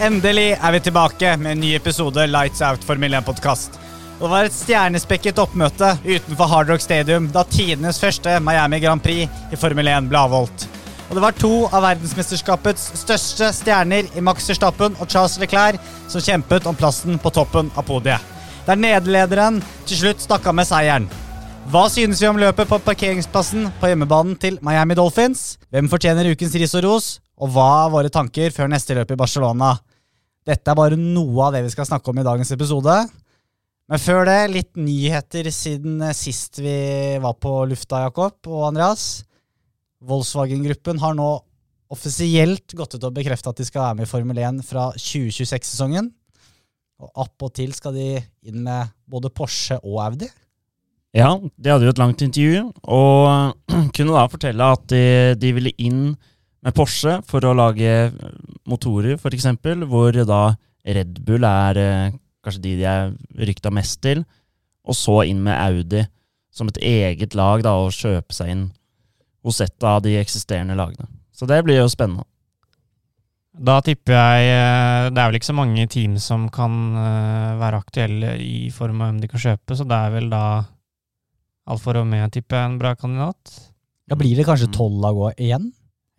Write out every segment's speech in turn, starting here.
Endelig er vi tilbake med en ny episode Lights Out Formel 1-podkast. Det var et stjernespekket oppmøte utenfor Hard Rock Stadium da tidenes første Miami Grand Prix i Formel 1 ble avholdt. Og det var to av verdensmesterskapets største stjerner i Max Verstappen og Charles Leclerc som kjempet om plassen på toppen av podiet. Der nederlederen til slutt stakk av med seieren. Hva synes vi om løpet på parkeringsplassen på hjemmebanen til Miami Dolphins? Hvem fortjener ukens ris og ros? Og hva er våre tanker før neste løp i Barcelona? Dette er bare noe av det vi skal snakke om i dagens episode. Men før det, litt nyheter siden eh, sist vi var på lufta, Jakob og Andreas. Volkswagen-gruppen har nå offisielt gått ut og bekrefta at de skal være med i Formel 1 fra 2026-sesongen. Og appåtil skal de inn med både Porsche og Audi. Ja, de hadde jo et langt intervju, og kunne da fortelle at de, de ville inn med Porsche for å lage eh, motorer, f.eks., hvor da Red Bull er eh, kanskje de de er rykta mest til, og så inn med Audi som et eget lag da, og kjøpe seg inn hos et av de eksisterende lagene. Så det blir jo spennende. Da tipper jeg eh, Det er vel ikke så mange team som kan eh, være aktuelle i form av hvem de kan kjøpe, så det er vel da Alfa Romeo, tipper jeg, en bra kandidat. Da blir det kanskje Mm. tolv lag òg igjen?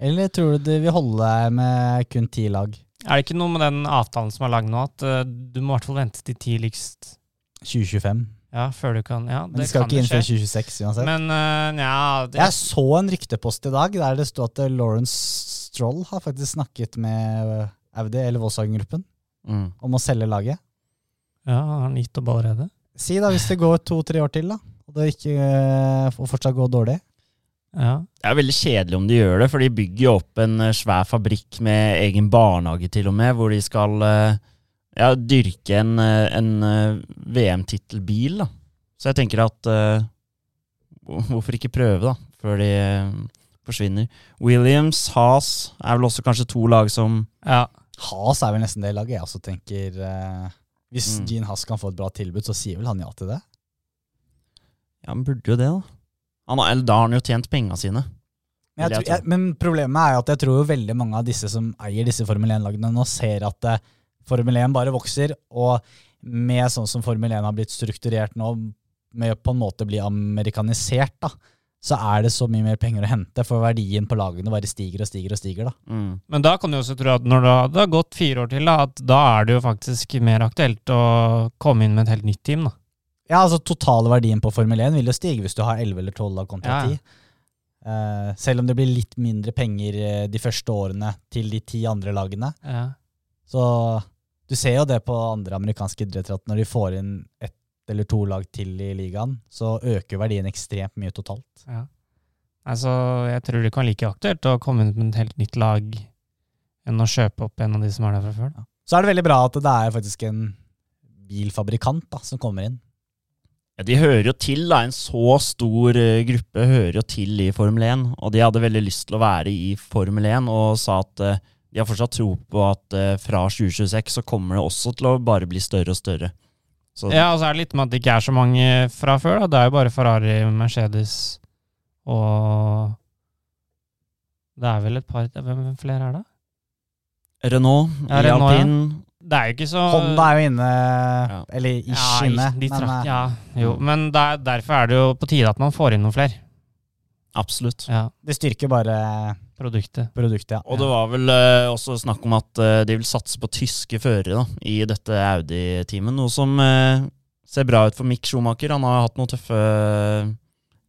Eller tror du de vil holde med kun ti lag? Er det ikke noe med den avtalen som er lagd nå, at eh, du må i hvert fall vente til tidligst 2025. Ja, før du kan Ja, Men de det skal kan ikke jo inn før skje. 2026 uansett. Men eh, nja det, Jeg så en ryktepost i dag der det sto at eh, Lawrence Stroll har faktisk snakket med eh, Audi, eller Volkswagen-gruppen, Mm. om å selge laget. Ja, har han gitt opp allerede? Si da, hvis det går to-tre år til, da, og det ikke eh, og fortsatt går dårlig. Ja. Det er veldig kjedelig om de gjør det, for de bygger jo opp en eh, svær fabrikk med egen barnehage til og med, hvor de skal eh, ja, dyrke en, eh, en eh, VM-tittelbil. da. Så jeg tenker at eh, hvor- hvorfor ikke prøve, da, før de eh, forsvinner. Williams, Haas er vel også kanskje to lag som ja. Haas er vel nesten det laget jeg også tenker eh, Hvis Mm. Gene Haas kan få et bra tilbud, så sier vel han ja til det? Ja, han burde jo det, da. Han har, eller da har han jo tjent penga sine. Men, jeg Vil jeg tror, jeg, men problemet er jo at jeg tror jo veldig mange av disse som eier disse Formel 1-lagene nå, ser at eh, Formel 1 bare vokser, og med sånn som Formel 1 har blitt strukturert nå, med å på en måte bli amerikanisert, da, så er det så mye mer penger å hente, for verdien på lagene bare stiger og stiger og stiger. da. Mm. Men da kan du også tro at når det har- det har gått fire år til, da, at da er det jo faktisk mer aktuelt å komme inn med et helt nytt team, da. Ja, altså totale verdien på Formel 1 vil jo stige hvis du har 11 eller 12 lag kontra Ja, ja. 10. Eh, selv om det blir litt mindre penger eh, de første årene til de ti andre lagene, Ja. Så du ser jo det på andre amerikanske idretter at når de får inn ett eller to lag til i ligaen, så øker verdien ekstremt mye totalt. Ja. Altså, jeg tror det kan være like aktuelt å komme inn med et helt nytt lag enn å kjøpe opp en av de som er der fra før. Da. Så er det veldig bra at det er faktisk en bilfabrikant da, som kommer inn. Ja, de hører jo til, da. En så stor eh, gruppe hører jo til i Formel 1. Og de hadde veldig lyst til å være i Formel 1, og sa at eh, de har fortsatt tro på at eh, fra 2026 så kommer det også til å bare bli større og større. Så Ja, og så er det litt med at det ikke er så mange fra før. Da. Det er jo bare Ferrari, Mercedes og Det er vel et par Hvem flere er det? Renault, Ja, i Renault, ja. alpin Det er jo ikke så Honda er jo inne, Ja. eller ish Ja, inne. de men, trakk, eh, ja, jo, men det er, derfor er det jo på tide at man får inn noen flere. Absolutt. Ja, Det styrker bare produktet. produktet, ja. Og det var vel eh, også snakk om at eh, de vil satse på tyske førere da, i dette Audi-teamet. Noe som eh, ser bra ut for Mick Schumacher. Han har hatt noe tøffe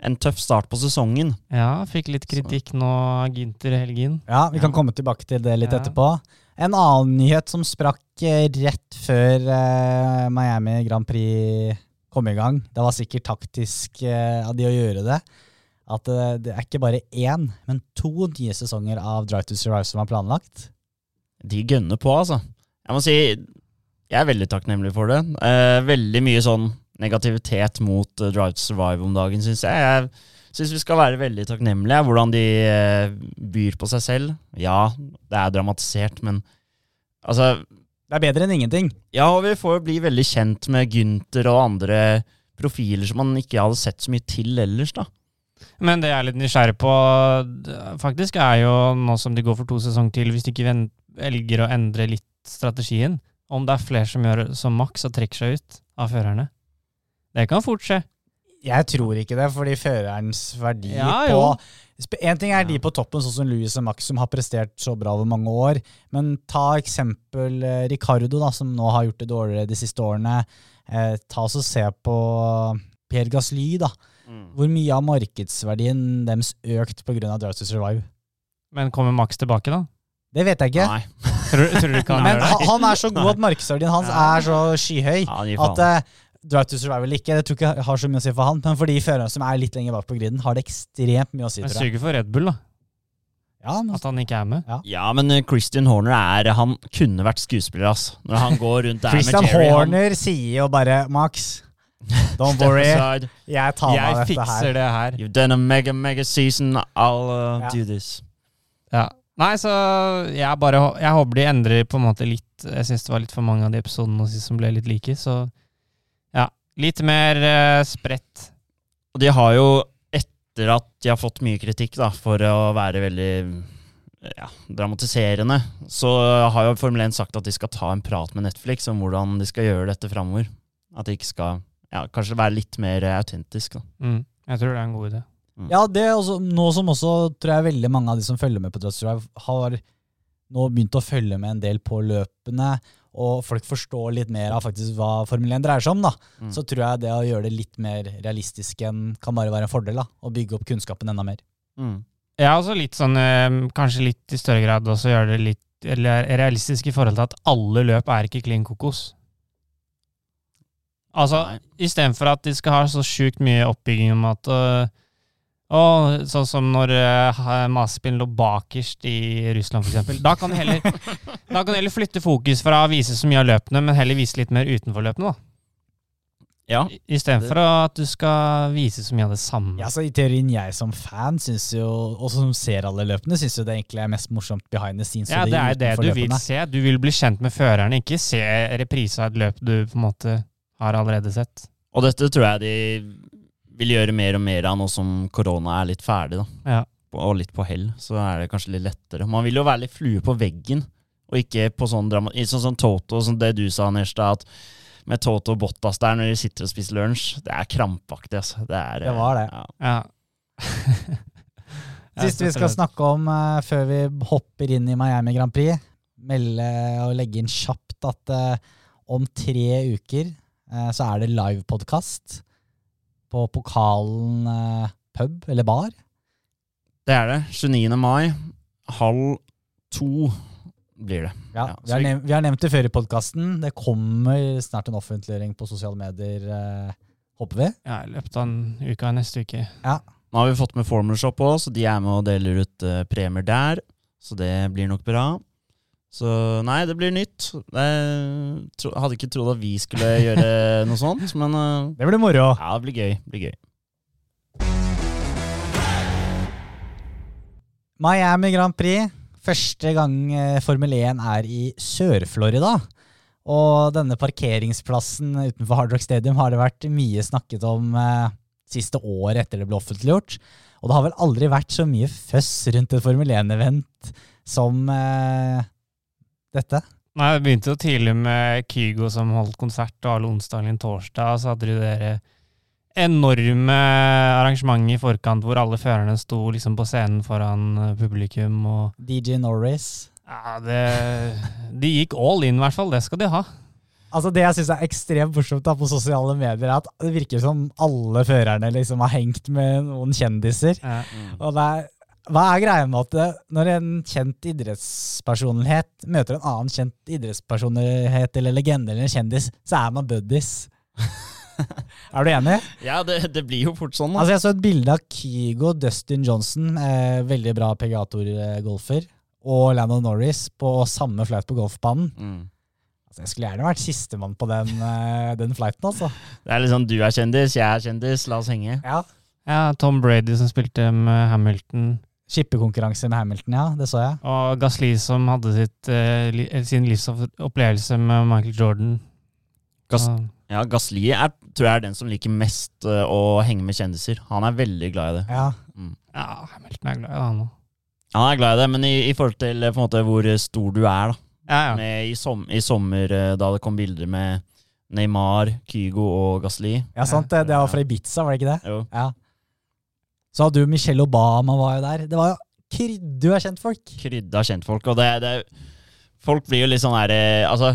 en tøff start på sesongen. Ja, fikk litt kritikk nå, Ginter Helgin. Ja, vi kan Ja. komme tilbake til det litt Ja. etterpå. En annen nyhet som sprakk eh, rett før eh, Miami Grand Prix kom i gang, det var sikkert taktisk eh, av de å gjøre det, at eh, det er ikke bare én, men to nye sesonger av Drive to Survive som er planlagt. de gønner på, altså. Jeg må si jeg er veldig takknemlig for det. Eh, veldig mye sånn negativitet mot eh, Drive to Survive om dagen, syns jeg. Jeg syns vi skal være veldig takknemlige hvordan de eh, byr på seg selv. Ja, det er dramatisert, men altså Det er bedre enn ingenting. ja, og vi får jo bli veldig kjent med Gynter og andre profiler som man ikke hadde sett så mye til ellers, da. Men det jeg er litt nysgjerrig på, d- faktisk, er jo nå som de går for to sesonger til, hvis de ikke ven- velger å endre litt strategien, om det er flere som gjør som Max og trekker seg ut av førerne. Det kan fort skje. Jeg tror ikke det, fordi førerens verdi Ja, på jo. Sp- En ting er de på toppen, sånn som Louis og Max, som har prestert så bra over mange år. Men ta eksempel eh, Ricardo, da, som nå har gjort det dårligere de siste årene. Eh, ta oss og Se på Per Gasly. da. Hvor mye har markedsverdien deres økt pga. Drive to Survive? Men kommer Max tilbake, da? Det vet jeg ikke. Nei. Tror, tror du ikke han Men gjør det? han, han er så god at markedsverdien hans Ja. er så skyhøy Ja, gi at faen. eh, Drive to Survive eller ikke, det tror jeg ikke har så mye å si for han. Men for de førerne som er litt lenger bak på griden, har det ekstremt mye å si. Men Tror jeg. suger for Red Bull, da. Ja, men, altså, At han ikke er med. Ja, men eh, Christian Horner er Han kunne vært skuespiller, ass. Når han går rundt der Christian med Jerry. han- Horner sier jo bare Max, don't Step worry, aside. jeg tar meg av Jeg dette her. fikser det her. You've done a mega, mega season. I'll uh, Ja. do this. Ja. Nei, så jeg bare hå- Jeg håper de endrer på en måte litt Jeg syns det var litt for mange av de episodene nå sist som ble litt like, så ja. Litt mer eh, spredt. Og de har jo, etter at de har fått mye kritikk da, for å være veldig ja, dramatiserende, så har jo Formel 1 sagt at de skal ta en prat med Netflix om hvordan de skal gjøre dette framover. At de ikke skal ja, kanskje være litt mer eh, autentisk. Da. Mm. Jeg tror det er en god idé. Ja, det er også, nå som også tror jeg veldig mange av de som følger med på Drive to Survive, har nå begynt å følge med en del på løpene, og folk forstår litt mer av faktisk hva Formel 1 dreier seg om, da. Mm. Så tror jeg det å gjøre det litt mer realistisk enn kan bare være en fordel, da. Og bygge opp kunnskapen enda mer. Mm. Jeg har også litt sånn eh, Kanskje litt i større grad også gjøre det litt eller realistisk i forhold til at alle løp er ikke klin kokos. Altså, Nei. istedenfor at de skal ha så sjukt mye oppbygging om at øh, å, Sånn som når uh, Masepin lå bakerst i Russland, f.eks. Da, kan du heller- da kan du heller flytte fokus fra å vise så mye av løpene, men heller vise litt mer utenfor løpene. da. Ja. I- Istedenfor at du skal vise så mye av det samme. Ja, så I teorien jeg som fan synes jo, og som ser alle løpene, syns jo det egentlig er mest morsomt behind the scenes. Ja, og det er det utenfor du vil løpene. se. Du vil bli kjent med førerne, ikke se reprise av et løp du på en måte har allerede sett. Og dette tror jeg de vil gjøre mer og mer av nå som korona er litt ferdig, da. Ja. Og litt på hell, så er det kanskje litt lettere. Man vil jo være litt flue på veggen, og ikke på sånn drama... i Sånn som Toto, som det du sa, Nerstad, at med Toto og Bottas der når de sitter og spiser lunsj, det er krampaktig, altså. Det, er, Det var det. Ja. Ja. Siste vi skal snakke om eh, før vi hopper inn i Miami Grand Prix, melde og legge inn kjapt at eh, om tre uker eh, så er det livepodkast på Pokalen eh, pub eller bar. det er det. 29. mai, halv to blir det. Ja, Ja, vi, så har vi- nevnt, vi har nevnt det før i podkasten. Det kommer snart en offentliggjøring på sosiale medier, eh, håper vi. Ja, I løpet av en uke og neste uke. Nå har vi fått med Formula Shop også, så de er med og deler ut eh, premier der. Så det blir nok bra. Så nei, det blir nytt. Jeg tro, hadde ikke trodd at vi skulle gjøre noe sånt, men eh, Det blir moro. ja, det blir gøy. Det blir gøy. Miami Grand Prix. Første gang eh, Formel 1 er i Sør-Florida. Og denne parkeringsplassen utenfor Hard Rock Stadium har det vært mye snakket om eh, siste året etter det ble offentliggjort. Og det har vel aldri vært så mye føss rundt et Formel 1-event som eh, dette. Nei, Det begynte jo tidlig med Kygo som holdt konsert, og alle onsdagen i en torsdag så hadde de dere enorme arrangementer i forkant hvor alle førerne sto liksom på scenen foran eh, publikum. og DJ Norris. ja, det, De gikk all in, i hvert fall. Det skal de ha. Altså Det jeg syns er ekstremt morsomt da på sosiale medier, er at det virker som alle førerne liksom har hengt med noen kjendiser. Ja. Og det er, hva er greia med at det, når en kjent idrettspersonlighet møter en annen kjent idrettspersonlighet eller legende eller en kjendis, så er man buddies? er du enig? Ja, det, det blir jo fort sånn. da. Altså Jeg så et bilde av Kygo Dustin Johnson, eh, veldig bra PGA-tour-golfer, og Lando Norris på samme flight på golfbanen. Mm. Altså, jeg skulle gjerne vært sistemann på den, eh, den flighten, altså. Det er liksom du er kjendis, jeg er kjendis, la oss henge. Ja. Ja, Tom Brady som spilte med Hamilton, Skippekonkurranse med Hamilton, ja. Det så jeg. og Gasli som hadde sitt, eh, li, eh, sin livsopplevelse med Michael Jordan. Gas- Så- Ja, Gasli er, tror jeg er den som liker mest eh, å henge med kjendiser. Han er veldig glad i det. Ja. ja, Hamilton er glad i han òg. Han er glad i det, men i, i forhold til eh, på en måte, hvor eh, stor du er, da. Ja, ja. Med, i, som, I sommer, eh, da det kom bilder med Neymar, Kygo og Gasli. ja, sant det. Det var fra Ibiza, var det ikke det? Jo. Ja. Så hadde du Michelle Obama var jo der. Det var jo krydder av kjentfolk. krydda kjentfolk. Og det, det, folk blir jo litt sånn her eh, Altså,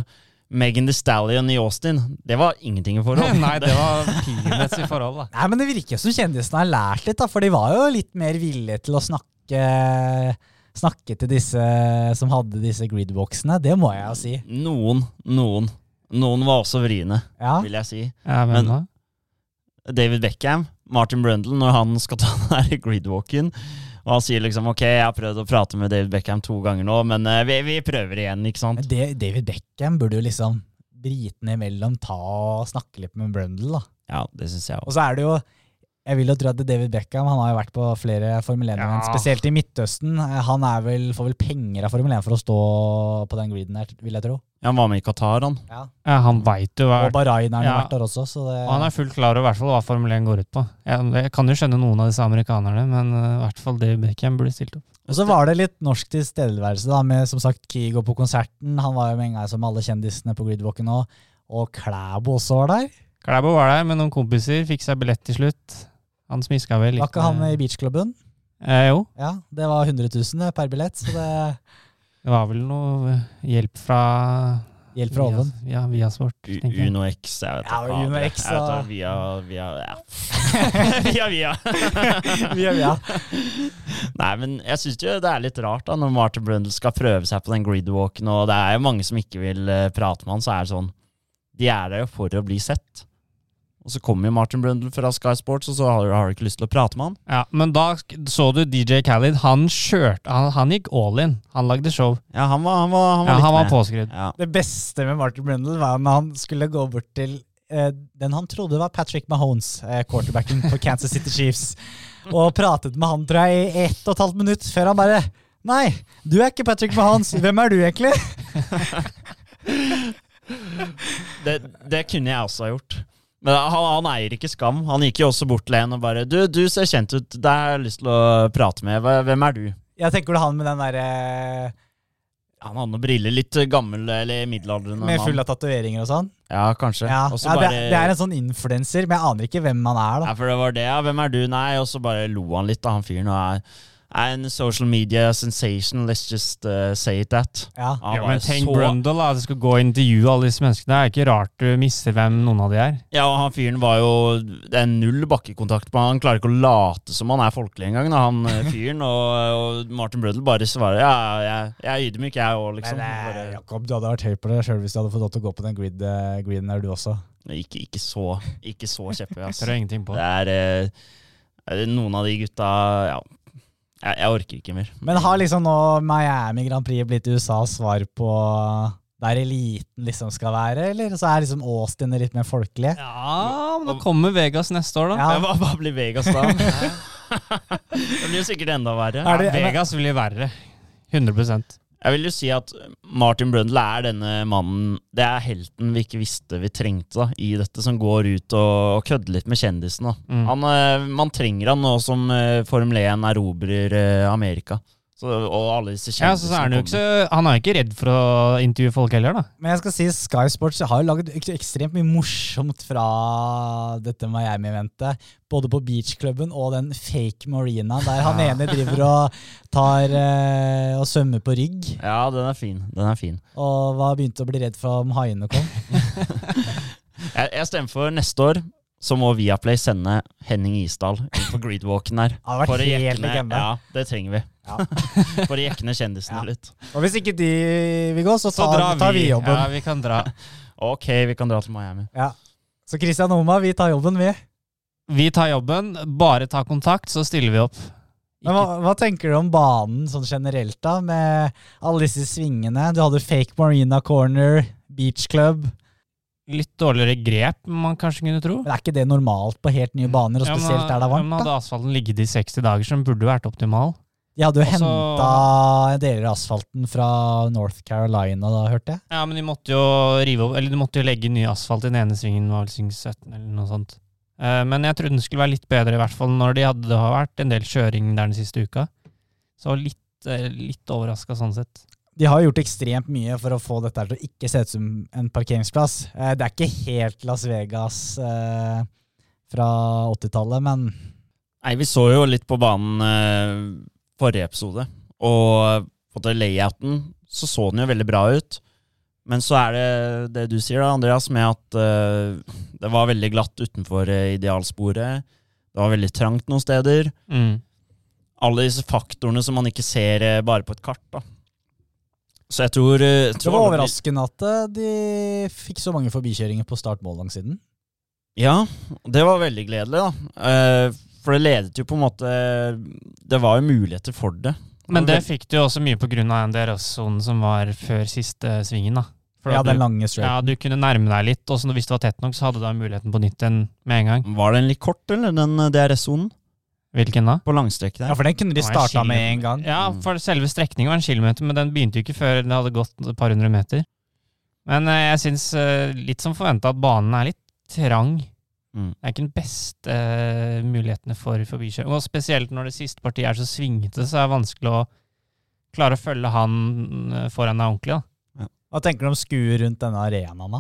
Megan Thee Stallion i Austin, det var ingenting i forhold. Nei, det var peanuts i forhold, da. Nei, men det virker som kjendisene har lært litt, da, for de var jo litt mer villige til å snakke, snakke til disse som hadde disse gridboxene. Det må jeg jo si. Noen, noen. Noen var også vriene, Ja. vil jeg si. Ja, Men- men, da? David Beckham, Martin Brundle, når han skal ta den her gridwalken. Og han sier liksom OK, jeg har prøvd å prate med David Beckham to ganger nå, men eh, vi, vi prøver igjen, ikke sant? Men det, David Beckham burde jo liksom britene imellom ta og snakke litt med Brundle, da. Ja, det syns jeg Og også. så er det jo Jeg vil jo tro at David Beckham Han har jo vært på flere Formel 1-event, Ja. spesielt i Midtøsten. Han er vel, får vel penger av Formel 1 for å stå på den griden der, vil jeg tro. Han var med i Qatar, han. ja, han veit jo hva Og Bahrain har han jo Ja. vært der også, så det Og han er fullt klar over i hvert fall hva Formel 1 går ut på. Jeg, jeg kan jo skjønne noen av disse amerikanerne, men eh, i hvert fall David Beckham burde stilt opp. Og så var det litt norsk tilstedeværelse, da, med som sagt Kygo på konserten. Han var jo med en gang som alle kjendisene på gridwalken òg. Og Klæbo også var der. Klæbo var der med noen kompiser, fikk seg billett til slutt. Han smiska vel litt. Var ikke han med- i beachklubben? Eh, jo, Ja, det var 100 000 per billett, så det det var vel noe eh, hjelp fra hjelper fra oven. Via, ja, via sport, U- tenker jeg. Uno X, jeg vet Ja, ikke. Uno X, Jeg vet da. ikke, Via, via, ja. via, via. Ja, ja. Nei, men jeg syns det er litt rart da når Martin Brundle skal prøve seg på den gridwalken, og det er jo mange som ikke vil eh, prate med han, så er det sånn De er der jo for å bli sett. Og så kommer jo Martin Brundle fra Sky Sports, og så har, har du ikke lyst til å prate med han. Ja, men da sk- så du DJ Khalid. Han kjørte Han, han gikk all in. Han lagde show. Ja, han var, han var, han var ja, litt han var med. påskrudd. Ja. Det beste med Martin Brundle var når han skulle gå bort til eh, den han trodde var Patrick Mahones, eh, quarterbacken på Kansas City Chiefs, og pratet med han, tror jeg, i ett og et halvt minutt før han bare Nei, du er ikke Patrick Mahones. Hvem er du, egentlig? Det, det kunne jeg også ha gjort. Men han, han eier ikke skam. Han gikk jo også bort til en og bare Du, du ser kjent ut. Deg har jeg lyst til å prate med. Hva- Hvem er du? Jeg tenker du han med den eh, derre Han hadde noen briller. Litt gammel eller middelaldrende med mann. full av tatoveringer og sånn. Ja, kanskje. Ja, Og så ja det, bare- det er en sånn influenser, men jeg aner ikke hvem han er, da. Ja, for det var det, ja. Hvem er du? Nei, og så bare lo han litt, da, han fyren. Og er, er en social media sensation, let's just uh, say it that. Ja. Han Ja, var men jo tenk så- Brundle, da. Du skal gå og intervjue alle disse menneskene. Det er ikke rart du mister hvem noen av de er. Ja, og han fyren var jo Det er null bakkekontakt på han. Han klarer ikke å late som han er folkelig engang, da, han eh, fyren. og, og Martin Brundle bare svarer ja, jeg, jeg er ydmyk, jeg òg, liksom. Men eh, Bare, Jakob, du hadde vært høy på deg sjøl hvis du hadde fått lov til å gå på den grid, eh, griden der, du også. ikke, ikke så Ikke så kjepphøy, ass. Tør jeg ingenting på. Det er eh, noen av de gutta Ja, jeg, jeg orker ikke mer. Men har liksom nå Miami Grand Prix blitt USAs svar på der eliten liksom skal være, eller så er liksom Austin litt mer folkelig? Ja, men da kommer Vegas neste år, da. Ja. Hva, hva blir Vegas da? det blir jo sikkert enda verre. Er det- Ja, Vegas blir verre. 100 Jeg vil jo si at Martin Brundle er denne mannen Det er helten vi ikke visste vi trengte da, i dette, som går ut og, og kødder litt med kjendisen. Da. Mm. Han, eh, man trenger han nå som eh, Formel 1 erobrer eh, Amerika. Så, og alle disse Ja, så, så er han, kjendisene jo ikke så, han er jo ikke redd for å intervjue folk heller, da. Men jeg skal si Sky Sports har jo laget ek- ekstremt mye morsomt fra dette Miami-eventet. Både på beachklubben og den fake marina der han Ah. ene driver og tar eh, og svømmer på rygg. kommer. Ja, den er fin. Den er fin. Og var begynte å bli redd for om haiene kom. Jeg, jeg stemmer for neste år. Så må Viaplay sende Henning Isdal inn på greedwalken her. Det hadde For å vært helt jekke ned- legende. Ja, det trenger vi. Ja. For å jekke ned kjendisene Ja. litt. Og hvis ikke de vil gå, så tar, tar vi jobben. Ja, vi kan dra. Ok, vi kan dra til Miami. Ja. Så Christian Oma, vi tar jobben, vi. Vi tar jobben. Bare ta kontakt, så stiller vi opp. Men hva, hva tenker du om banen sånn generelt, da? Med alle disse svingene. Du hadde fake marina corner, beach club. Litt dårligere grep enn man kanskje kunne tro. Men er ikke det normalt på helt nye baner, og Ja, men- spesielt der det er ja, Men varmt? da? hadde asfalten ligget i 60 dager, som burde vært optimal De hadde jo altså- henta deler av asfalten fra North Carolina, da, hørte jeg. Ja, men de måtte jo rive opp, eller de måtte jo legge ny asfalt i den ene svingen, var vel sving 17 eller noe sånt. Eh, Men jeg trodde den skulle være litt bedre, i hvert fall når de hadde, det har vært en del kjøring der den siste uka. Så litt, eh, litt overraska sånn sett. De har jo gjort ekstremt mye for å få dette her til å ikke se ut som en parkeringsplass. Eh, Det er ikke helt Las Vegas eh, fra 80-tallet, men Nei, vi så jo litt på banen eh, forrige episode, og på en måte layouten så så den jo veldig bra ut. Men så er det det du sier da, Andreas, med at eh, det var veldig glatt utenfor eh, idealsporet. Det var veldig trangt noen steder. Mm. Alle disse faktorene som man ikke ser eh, bare på et kart, da. Så jeg tror, eh, jeg det tror var overraskende at eh, de fikk så mange forbikjøringer på start-mål langs siden. Ja, det var veldig gledelig, da. Eh, for det ledet jo på en måte Det var jo muligheter for det. Men det fikk du jo også mye på grunn av NDRS-sonen som var før siste svingen, da. For Ja, at den du, lange straight. ja, du kunne nærme deg litt, og så hvis det var tett nok, så hadde du da muligheten på nytt igjen med en gang. Var den litt kort, eller, den eh, DRS-sonen? Hvilken da? På langstrekket Ja, der? for den kunne de Det var en starta kilometer. med en gang. Ja, Mm. for selve strekningen var en kilometer, men den begynte jo ikke før det hadde gått et par hundre meter. Men eh, jeg syns, litt som forventa, at banen er litt trang. Mm. Det er ikke den beste eh, mulighetene for forbikjøring. Og spesielt når det siste partiet er så svingete, så er det vanskelig å klare å følge han eh, foran deg ordentlig. da. Hva tenker du om skuer rundt denne arenaen, da?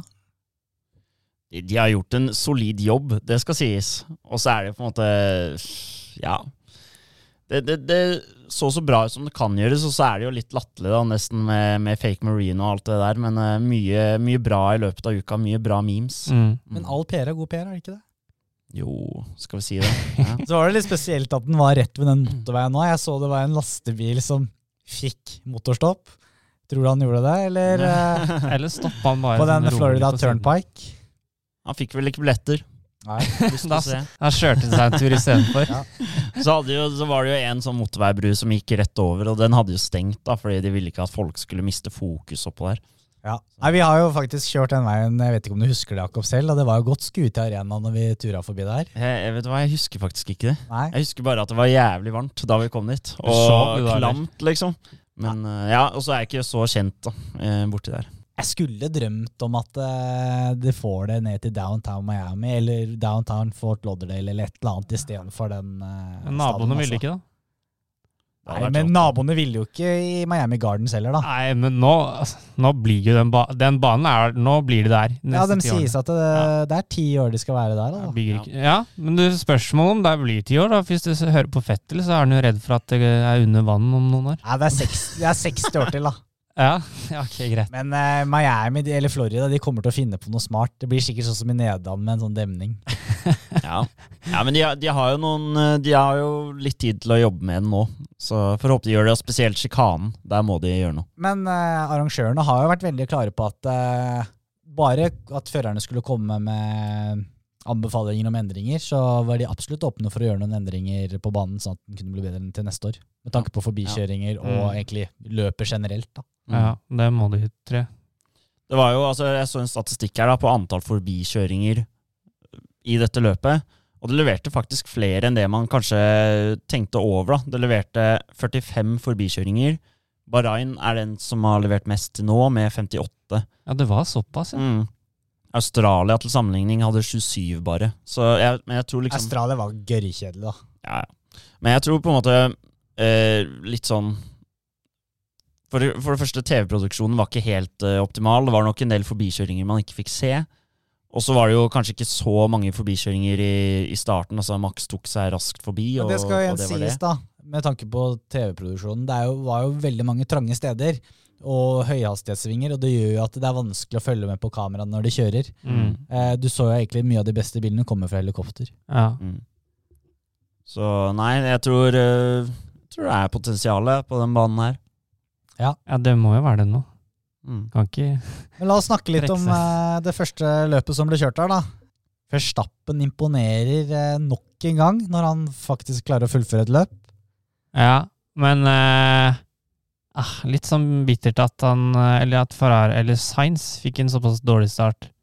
De, de har gjort en solid jobb, det skal sies. Og så er det på en måte Ja. Det, det, det så så bra ut som det kan gjøres, og så er det jo litt latterlig, da, nesten med, med fake marine og alt det der, men eh, mye, mye bra i løpet av uka. Mye bra memes. Men Mm. all PR er god PR, er det ikke det? Jo, skal vi si det? Ja. Så var det litt spesielt at den var rett ved den motorveien nå. Jeg så det var en lastebil som fikk motorstopp. Tror du han gjorde det, eller? eh, Eller stoppa han bare På den sånn rolig Florida på siden. Turnpike. Han fikk vel ikke billetter. Nei. lyst til å Da- se. Han kjørte seg en tur istedenfor. Ja. Så, hadde jo, så var det jo en sånn motorveibru som gikk rett over, og den hadde jo stengt, da, fordi de ville ikke at folk skulle miste fokus oppå der. Ja. Nei, vi har jo faktisk kjørt den veien, jeg vet ikke om du husker det, Jakob selv, og det var jo godt skue til arenaen når vi tura forbi der. Jeg, jeg vet hva, jeg husker faktisk ikke det. Nei. Jeg husker bare at det var jævlig varmt da vi kom dit, og sov jo da, eller? klamt, liksom. Men eh, ja, og så er jeg ikke så kjent da, eh, borti der. Jeg skulle drømt om at eh, de får det ned til downtown Miami, eller downtown Fort Lauderdale, eller et eller annet i stedet for den uh, Naboene ville ikke, da. Det Nei, hadde vært men rått. naboene ville jo ikke i Miami Gardens heller, da. Nei, men nå, altså, nå blir jo den, ba den banen er, Nå blir det der. Ja, neste de ti årene. sies at det, det er ti år de skal være der, Jeg da. bygger ikke. Ja, men du, spørsmålet om det blir ti år, da. Hvis du s- hører på Fettel, så er han jo redd for at det er under vann om noen år. Nei, det er, seks, det er 60 år til, da. Ja, ja ok, greit. Men eh, Miami de- eller Florida de kommer til å finne på noe smart. Det blir sikkert sånn som i Nederland med en sånn demning. Ja, ja men de, har- de har jo noen eh, De har jo litt tid til å jobbe med den nå, så får håpe de gjør det, og spesielt sjikanen. Der må de gjøre noe. Men eh, arrangørene har jo vært veldig klare på at eh, bare at førerne skulle komme med anbefalinger om endringer, så var de absolutt åpne for å gjøre noen endringer på banen, sånn at den kunne bli bedre enn til neste år. Med tanke på forbikjøringer og Mm. egentlig løpet generelt. da. Mm. Ja, det må du, tror jeg. Det var jo, altså Jeg så en statistikk her da på antall forbikjøringer i dette løpet. Og det leverte faktisk flere enn det man kanskje tenkte over. da. Det leverte 45 forbikjøringer. Bahrain er den som har levert mest til nå, med 58. Ja, det var såpass, ja. Mm. Australia til sammenligning hadde 27 bare. Så jeg, men jeg tror liksom Australia var gørrkjedelig, da. ja, ja. Men jeg tror på en måte eh, litt sånn for det, for det første, TV-produksjonen var ikke helt eh, optimal. Det var nok en del forbikjøringer man ikke fikk se. Og så var det jo kanskje ikke så mange forbikjøringer i, i starten. Altså Max tok seg raskt forbi, og, Men det skal jo og igjen det var det. sies, da, med tanke på TV-produksjonen. Det er jo, var jo veldig mange trange steder og høyhastighetssvinger, og det gjør jo at det er vanskelig å følge med på kameraet når de kjører. Mm. Eh, du så jo egentlig mye av de beste bilene komme fra helikopter. ja. Mm. Så nei, jeg tror, eh, jeg tror det er potensialet på den banen her. Ja, det må jo være det nå. Mm. Kan ikke Men la oss snakke litt Trekke om seg. eh, det første løpet som ble kjørt her, da. Verstappen imponerer eh, nok en gang når han faktisk klarer å fullføre et løp. Ja, men eh, ah, litt sånn bittert at han eh, Eller at Ferrari eller Sainz fikk en såpass dårlig start.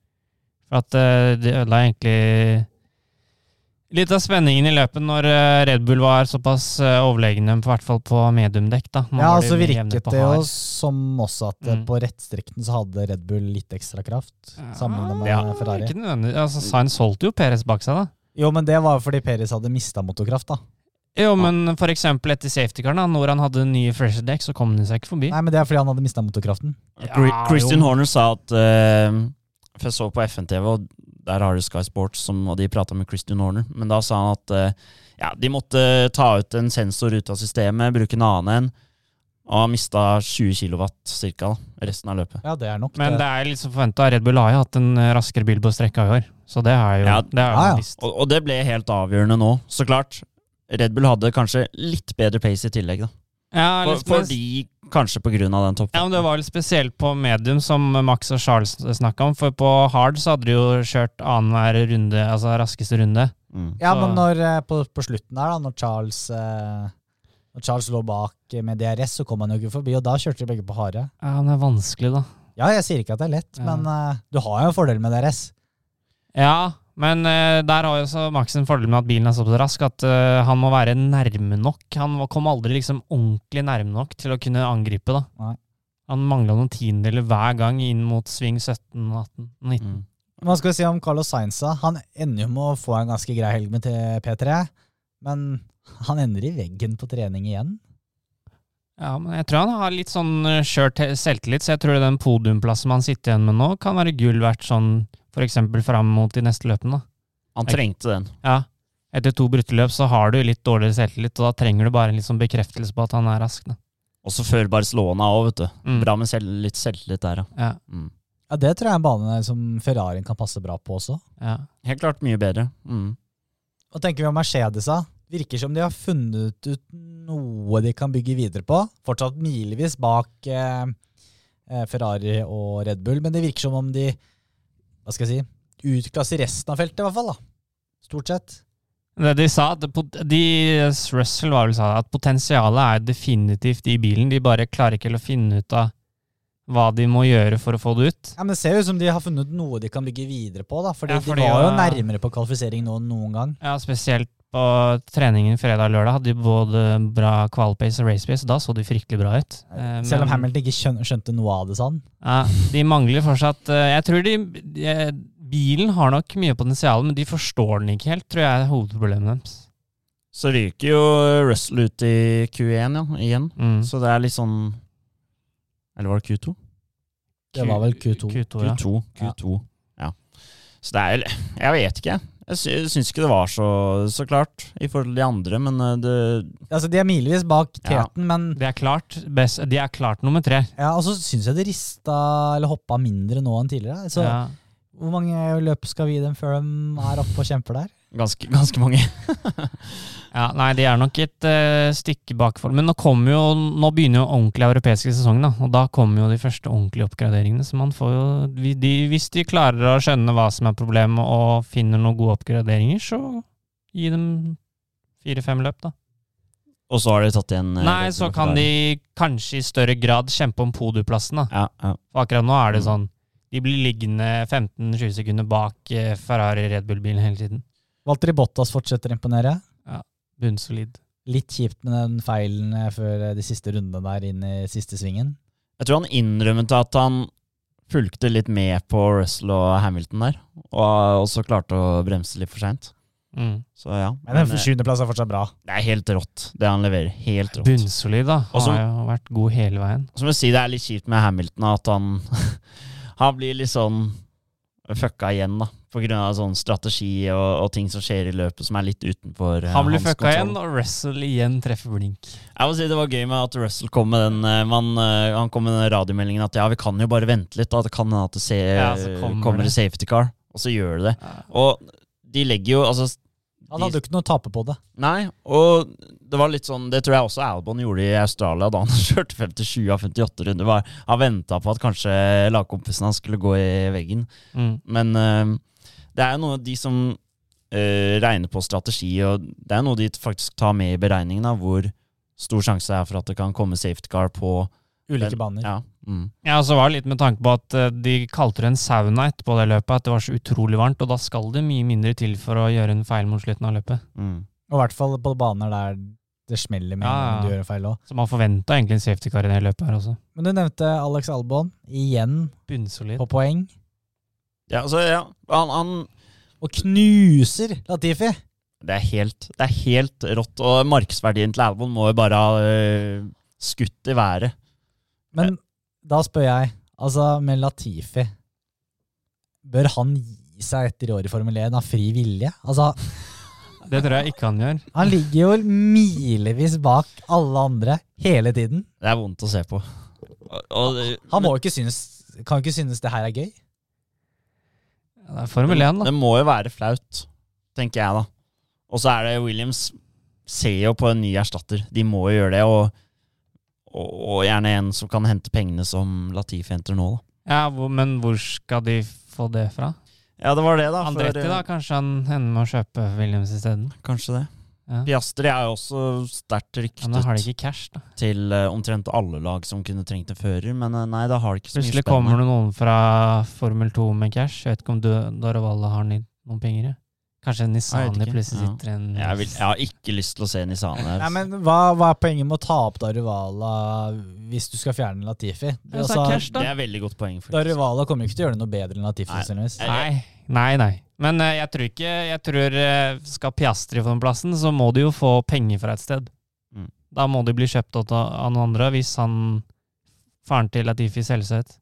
For at eh, det ødela egentlig litt av spenningen i løpet når eh, Red Bull var såpass eh, overlegne, i hvert fall på mediumdekk. da. Nå Ja, var og de så mye virket jevnere på det jo hard. som også at eh, Mm. på rettstrekten så hadde Red Bull litt ekstra kraft sammenlignet med Ja, Ferrari. Ikke nødvendigvis. Altså, Sainz holdt jo Perez bak seg, da. Jo, men det var jo fordi Peris hadde mista motorkraft, da. Jo, men for eksempel etter safetycaren, da, når han hadde nye fresher dekk, så kom han seg ikke forbi. Nei, men det er fordi han hadde mista motorkraften. Chri- Ja, Christian jo. Horner sa at eh, For jeg så på FNTV, og der har du Sky Sports, som, og de prata med Christian Horner. Men da sa han at eh, ja, de måtte ta ut en sensor ut av systemet, bruke en annen en. Og han mista 20 kilowatt cirka, da, resten av løpet. Ja, det er nok. eh, Men det. det er liksom forventa. Red Bull har jo hatt en eh, raskere bil på strekka i år. Så det har jo Ja, det er jo ja, ja. visst. Og, og det ble helt avgjørende nå, så klart. Red Bull hadde kanskje litt bedre pace i tillegg, da. Ja, For, liksom, fordi, kanskje på grunn av den ja, toppen. men Det var litt spesielt på medium, som Max og Charles snakka om. For på hard så hadde de jo kjørt annenhver runde, altså raskeste runde. Mm. ja, så- men når, eh, på, på slutten der, da, når Charles, eh, når Charles lå bak eh, med DRS, så kom han jo ikke forbi, og da kjørte de begge på harde. Ja, men det er vanskelig, da. Ja, jeg sier ikke at det er lett, Ja. men eh, du har jo en fordel med DRS. Ja, men eh, der har jo også Max en fordel med at bilen er såpass rask at eh, han må være nærme nok. Han må- kom aldri liksom ordentlig nærme nok til å kunne angripe, da. Nei. Han mangla noen tiendedeler hver gang inn mot sving 17, 18, 19. Mm. Hva skal vi si om Carlos Sainz? da? Han ender jo med å få en ganske grei helg med til P3, men han ender i veggen på trening igjen. Ja, men jeg tror han har litt sånn eh, skjør te- selvtillit, så jeg tror den podiumplassen man sitter igjen med nå, kan være gull verdt sånn for eksempel fram mot de neste løpene, da. Han trengte den. Ja. Etter to brutte løp så har du litt dårligere selvtillit, og da trenger du bare en litt sånn bekreftelse på at han er rask, da. Også før Barcelona òg, vet du. Mm. Bra med selv, litt selvtillit der, ja. Ja, Mm. Ja, Det tror jeg er en bane som Ferrarien kan passe bra på også. ja. Helt klart mye bedre. Mm. Hva tenker vi om Mercedes? da? Virker som de har funnet ut noe de kan bygge videre på. Fortsatt milevis bak eh, eh, Ferrari og Red Bull, men det virker som om de hva skal jeg si, utklasser resten av feltet, i hvert fall. da. Stort sett. Det de sa, at pot- de, eh, Russell var vel sa det, at potensialet er definitivt i bilen, de bare klarer ikke helt å finne ut av hva de må gjøre for å få det ut. Ja, men Det ser jo ut som de har funnet noe de kan bygge videre på. da, fordi, Ja, fordi de var jo å- nærmere på kvalifisering nå enn noen gang. Ja, spesielt på treningen fredag og lørdag hadde de både bra kvalpace og racepace, og da så de fryktelig bra ut. Eh, Selv om men- Hamilton ikke skjøn- skjønte noe av det sånn. Ja, de mangler fortsatt eh, Jeg tror de, de Bilen har nok mye potensial, men de forstår den ikke helt, tror jeg er hovedproblemet deres. Så ryker jo Russell ut i Q1 ja, igjen. Mm. Så det er litt sånn Eller var det Q2? Det var vel Q2. Q2 ja. Q2. Q2. Ja. Så det er Jeg vet ikke, jeg. Jeg sy- syns ikke det var så, så klart i forhold til de andre, men eh, det Altså, De er milevis bak teten, Ja. men De er klart best, De er klart nummer tre. ja, og så syns jeg det rista eller hoppa mindre nå enn tidligere. Så ja. Hvor mange løp skal vi gi dem før de er oppe og kjemper der? Ganske, ganske mange. ja, Nei, de er nok et eh, stykke bak for Men nå kommer jo Nå begynner jo ordentlig europeiske sesong, da. Og da kommer jo de første ordentlige oppgraderingene. Så man får jo vi- de, Hvis de klarer å skjønne hva som er problemet, og finner noen gode oppgraderinger, så gi dem fire-fem løp, da. Og så har de tatt igjen eh, Nei, Red så Bull og kan Ferrari. de kanskje i større grad kjempe om podieplassen. da. ja, ja. For akkurat nå er det Mm. sånn De blir liggende 15-20 sekunder bak eh, Ferrari Red Bull-bilen hele tiden. Valtteri Bottas fortsetter å imponere. Bunnsolid. Litt kjipt med den feilen eh, før eh, de siste rundene der inn i siste svingen. Jeg tror han innrømmet at han fulgte litt med på Russell og Hamilton der, og også klarte å bremse litt for seint. Mm. Så ja. Men Men, den eh, sjuendeplass er fortsatt bra. det er helt rått, det han leverer. Helt rått. Bunnsolid, da. Og så- Har jo vært god hele veien. Så må jeg si det er litt kjipt med Hamilton at han Han blir litt sånn fucka igjen, da. På grunn av sånn strategi og, og ting som skjer i løpet som er litt utenfor eh, Han blir hans fucka igjen, kontroll. og Russell igjen treffer blink. Jeg må si Det var gøy med at Russell kom med den eh, man, eh, Han kom med den radiomeldingen at ja, vi kan jo bare vente litt, da. Det kan hende at det ser, Ja, så kommer kommer, det det. safety car. Og så gjør det det. Og de legger jo altså Han hadde jo ikke noe å tape på det. Nei, og det var litt sånn Det tror jeg også Albon gjorde i Australia da han kjørte 57 av 58 runder. Var, han venta på at kanskje lagkompisen hans skulle gå i veggen. Mm. Men eh, det er jo noe de som eh, regner på strategi, og det er noe de faktisk tar med i beregningen av hvor stor sjanse er for at det kan komme safety car på Ulike baner. Ja. Mm. Ja, så var det litt med tanke på at eh, de kalte det en sauna etterpå det løpet, at det var så utrolig varmt, og da skal det mye mindre til for å gjøre en feil mot slutten av løpet. Mm. Og i hvert fall på baner der det smeller med Ja, ja. når du gjør feil òg. Så man forventa egentlig en safety car i det løpet her også. Men du nevnte Alex Albon igjen Bunnsolid. på poeng. ja, så ja, han, han Og knuser Latifi! det er, helt, det er helt rått, og markedsverdien til Albon må jo bare ha eh, skutt i været. Men da spør jeg, altså med Latifi Bør han gi seg etter i år i Formel 1 av fri vilje? Altså, Det tror jeg ikke han gjør. han ligger jo milevis bak alle andre hele tiden. Det er vondt å se på. Og, og, Han må jo ikke synes Kan ikke synes det her er gøy. Det er Formel 1, da. Det må jo være flaut, tenker jeg da. Og så er det Williams ser jo på en ny erstatter. De må jo gjøre det, og, og, og gjerne en som kan hente pengene som Latif henter nå. da. Ja, hvor, men hvor skal de få det fra? Ja, det var det, da. for, Andretti, eh, da? Kanskje han hender med å kjøpe Williams isteden? Kanskje det. Ja. Piastri er jo også sterkt Ja, Men da har de ryktet ikke cash, da. til eh, omtrent alle lag som kunne trengt en fører, men eh, nei, da har de ikke så mye Plutselig spennende. kommer det noen fra Formel 2 med cash. Jeg vet ikke om du- Dorovala har ni- noen penger, ja. Kanskje Jeg Nisani vet ikke. plutselig Ja. sitter i en Jeg, vil, jeg har ikke lyst til å se Nisane. Nei, men hva, hva er poenget med å ta opp Darivala hvis du skal fjerne Latifi? Ja, så er cash, da. det er veldig godt poeng. faktisk. Darivala kommer jo ikke til å gjøre det noe bedre enn Latifi. Nei. sannsynligvis. Jeg- Nei, nei, nei. Men eh, jeg tror ikke jeg tror, eh, Skal Piastri få den plassen, så må du jo få penger fra et sted. Mm. Da må du bli kjøpt opp av av noen andre, hvis han Faren til Latifi Selvseth.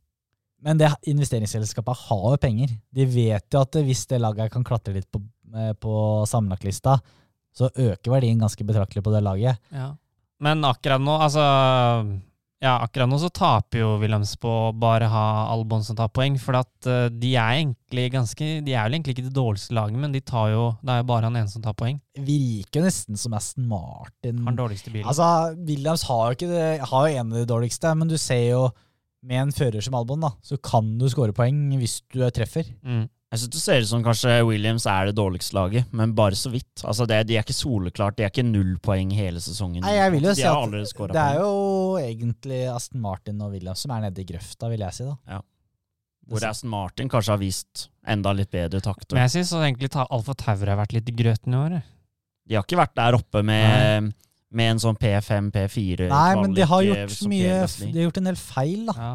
Men det investeringsselskapet har jo penger. De vet jo at hvis det laget kan klatre litt på, eh, på sammenlagtlista, så øker verdien ganske betraktelig på det laget. Men akkurat nå, altså Ja, akkurat nå så taper jo Williams på å bare ha Albon som tar poeng, for at eh, de er egentlig ganske De er vel egentlig ikke det dårligste laget, men de tar jo Det er jo bare han ene som tar poeng. Virker jo nesten som Aston Martin. Har den dårligste bilen. Altså, Williams har jo, ikke det, har jo en av de dårligste, men du ser jo med en fører som Albon, da, så kan du skåre poeng hvis du treffer. Mm. Jeg synes det ser ut som kanskje Williams er det dårligste laget, men bare så vidt. Altså det, De er ikke soleklart, de er ikke null poeng hele sesongen. Nei, jeg vil jo de si har at allerede skåret Det er poeng. jo egentlig Aston Martin og Williams som er nede i grøfta, vil jeg si. da. Hvor Aston Martin kanskje har vist enda litt bedre takter. Men jeg syns egentlig ta Alfa Tauri har vært litt i grøten i år. jeg. De har ikke vært der oppe med, med en sånn P5, P4 Nei, men de har kvalik, gjort som mye, Pierre de Gasly. har gjort en del feil, da. Ja,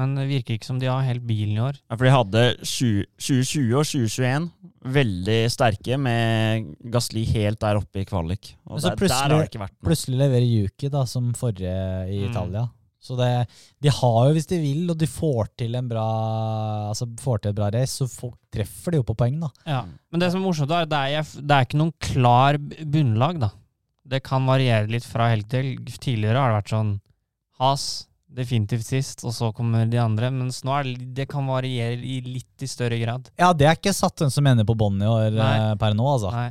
men det virker ikke som de har helt bilen i år. Ja, for de hadde 20 2020 og 2021 veldig sterke, med Gasli helt der oppe i kvalik. Og Men så der, der har plutselig- det ikke vært noe. Plutselig leverer Yuki da, som forrige i Mm. Italia. Så det, de har jo, hvis de vil, og de får til en bra altså får til et bra race, så får, treffer de jo på poeng, da. Ja. Men det som er morsomt, er det er, jeg- det er ikke noen klar b- bunnlag, da. Det kan variere litt fra helg til helg. Tidligere har det vært sånn Has definitivt sist, og så kommer de andre. Mens nå er det, det kan variere i litt i større grad. Ja, det er ikke satt hvem som ender på bånn i år Nei. eh, per nå, altså. Nei.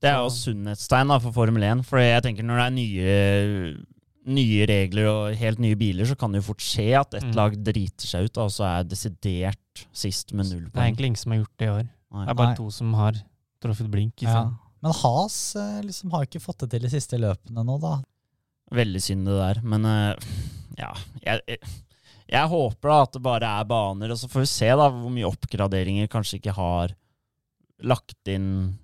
Det er jo sunnhetstegn da, for Formel 1. For jeg tenker når det er nye, nye regler og helt nye biler, så kan det jo fort skje at et Mm. lag driter seg ut, da, og så er jeg desidert sist med null Det er poeng. egentlig ingen som har gjort det i år. Nei. Det er bare Nei. to som har truffet blink. Ikke Ja. sant? Men Has eh, liksom har ikke fått det til de siste løpene nå, da. Veldig synd det der. Men eh, ja, jeg, jeg, jeg håper da at det bare er baner, og så får vi se da hvor mye oppgraderinger kanskje ikke har lagt inn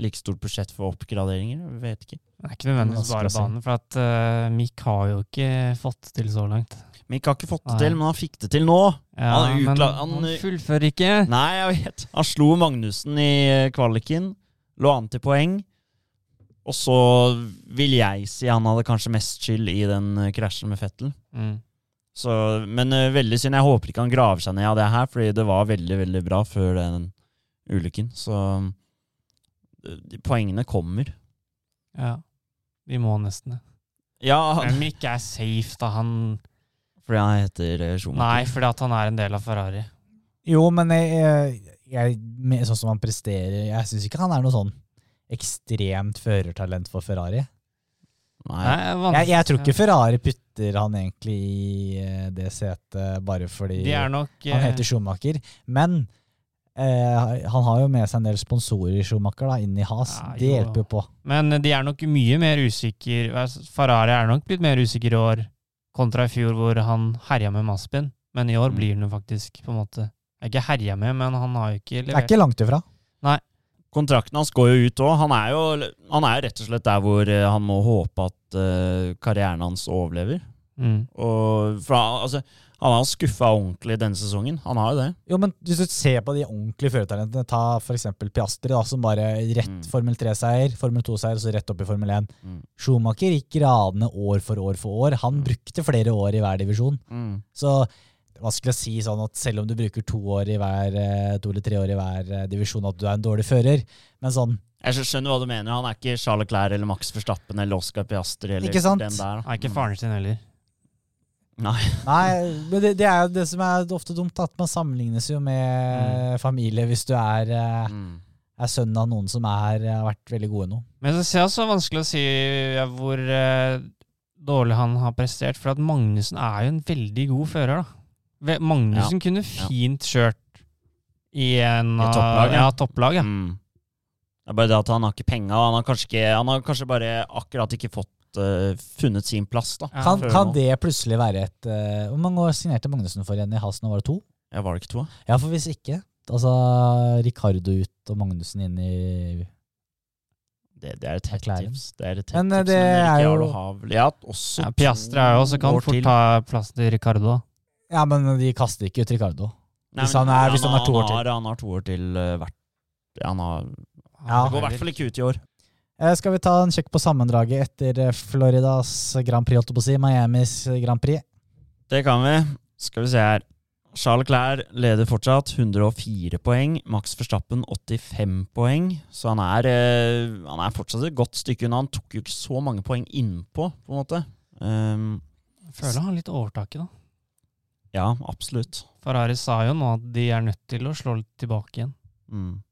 like stort budsjett for oppgraderinger. Jeg Vet ikke. Det er ikke nødvendigvis bare Vanskelig å si. banen, for at eh, Mick har jo ikke fått til så langt. Mick har ikke fått det Nei. til, men han fikk det til nå. Ja, Han er men uklar- han han- fullfører ikke. Nei, jeg vet. Han slo Magnussen i eh, kvaliken, lå an til poeng. Og så vil jeg si han hadde kanskje mest skyld i den eh, krasjen med Fettel. Mm. Så, men eh, veldig synd. Jeg håper ikke han graver seg ned av det her, fordi det var veldig, veldig bra før den ulykken. Så eh, de poengene kommer. Ja. Vi må nesten det. Ja, Men Mick er safe, da. Han fordi han heter eh, Nei, Schumacher. fordi at han er en del av Ferrari. Jo, men jeg, eh, jeg, med- sånn som han presterer, jeg syns ikke han er noe sånn ekstremt førertalent for Ferrari. Nei. Jeg, jeg tror ikke Ferrari putter han egentlig i eh, det setet bare fordi De er nok Han eh, heter Schumacher, men eh, han har jo med seg en del sponsorer, Schumacher, da, inn i Has. Ja, det jo da. hjelper jo på. Men de er nok mye mer usikker Altså, Ferrari er nok blitt mer usikker i år kontra i fjor, hvor han herja med Maspin. Men i år Mm. blir han jo faktisk på en måte Jeg er ikke herja med, men han har jo ikke Det er levert. ikke langt ifra. Kontrakten hans går jo ut òg. Han, er jo- han er jo rett og slett der hvor eh, han må håpe at eh, karrieren hans overlever. Mm. Og for, han- altså, han har skuffa ordentlig denne sesongen. Han har jo det. Jo, men Hvis du ser på de ordentlige førertalentene, ta f.eks. Piastri, da, som bare rett Mm. Formel 3-seier, Formel 2-seier, og så rett opp i Formel 1. Mm. Schumacher gikk gradene år for år for år. Han brukte flere år i hver divisjon. Så det er vanskelig å si sånn at selv om du bruker to, år i hver, eh, to eller tre år i hver eh, divisjon, at du er en dårlig fører. Men sånn, Jeg skjø- skjønner hva du mener. Han er ikke Charles Clair eller Max Verstappen eller Oscar Piastri. Eller Ikke sant? Den der. da. Han er Mm. ikke faren sin heller. nei, men det, det er jo det som er ofte dumt, da, at man sammenlignes jo med familie hvis du er, eh, Mm. er sønnen av noen som er, eh, har vært veldig gode nå. Men så ser jeg også vanskelig å si ja, hvor eh, dårlig han har prestert, for at Magnussen er jo en veldig god fører, da. Ve- Magnussen kunne fint kjørt i en I av- topplag, ja. ja. topplag, ja. Mm. Det er bare det at han har ikke penga. Han, har kanskje ikke- han har kanskje bare akkurat ikke fått eh, funnet sin plass, da. Ja. Kan, Før kan nå. det plutselig være et eh, Hvor mange år signerte Magnussen for igjen i Hasen? Var det to? Ja, var det ikke to? da? Ja, for hvis ikke Altså Ricardo ut og Magnussen inn i Det, det er et hett Erklæring. tips. Det er et hett Men, eh, tips, det er Ricciardo jo- har vel- Ja, også ja Piastra er jo også kan år fort til. ta plassen til Ricardo. da. Ja, men de kaster ikke ut Ricardo. Nei, hvis men han er- hvis han har to år til. har- Han har to år til eh, hvert ja, han har, Ja. Det går i hvert fall ikke ut i år. Eh, Skal vi ta en sjekk på sammendraget etter eh, Floridas Grand Prix, holdt jeg på å si. Miamis Grand Prix. Det kan vi. Skal vi se her. Charles Clair leder fortsatt, 104 poeng. Max Verstappen 85 poeng. Så han er, eh, han er fortsatt et godt stykke unna. Han tok jo ikke så mange poeng innpå, på en måte. Ehm, Jeg Føler han har litt overtaket, da. ja, absolutt. Ferrari sa jo nå at de er nødt til å slå litt tilbake igjen. Mm.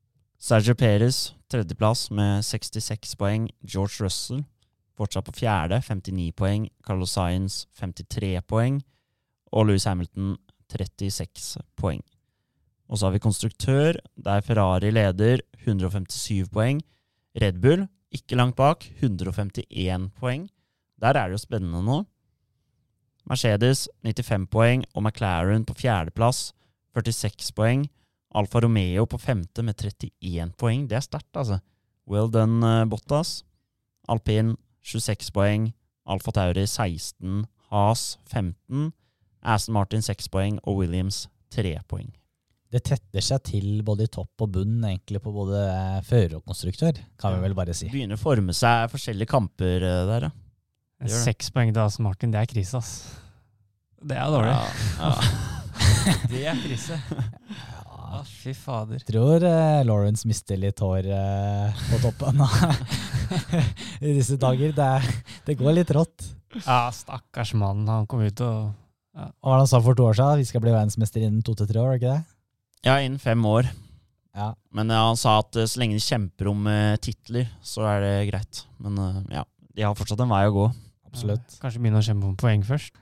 Sergio Perez, tredjeplass med 66 poeng. George Russell fortsatt på fjerde, 59 poeng. Carlos Sainz, 53 poeng. Og Louis Hamilton, 36 poeng. Og så har vi konstruktør, der Ferrari leder, 157 poeng. Red Bull, ikke langt bak, 151 poeng. Der er det jo spennende nå. Mercedes, 95 poeng, og McLaren på fjerdeplass, 46 poeng. Alfa Romeo på femte med 31 poeng. Det er sterkt, altså. Well done, eh, Bottas. Alpin 26 poeng. Alfa Tauri 16. Haas 15. Aston Martin 6 poeng. Og Williams 3 poeng. Det tetter seg til både i topp og bunn, egentlig, på både eh, fører og konstruktør, kan vi vel bare si. Begynner å forme seg forskjellige kamper eh, der, ja. Gjør det. Seks poeng til Aston Martin, det er krise, ass. Det er dårlig. Det er krise. Ja, Ah, fy fader. jeg tror eh, Lawrence mister litt hår eh, på toppen i disse dager. Det, er, det går litt rått. Ja, stakkars mann. Han kom ut og Hva var det han sa for to år siden? Vi skal bli verdensmester innen to til tre år, var det ikke det? Ja, innen fem år. Ja. Men ja, han sa at eh, så lenge de kjemper om eh, titler, så er det greit. Men eh, ja, de har fortsatt en vei å gå. Absolutt. Ja, Kanskje begynne å kjempe om poeng først.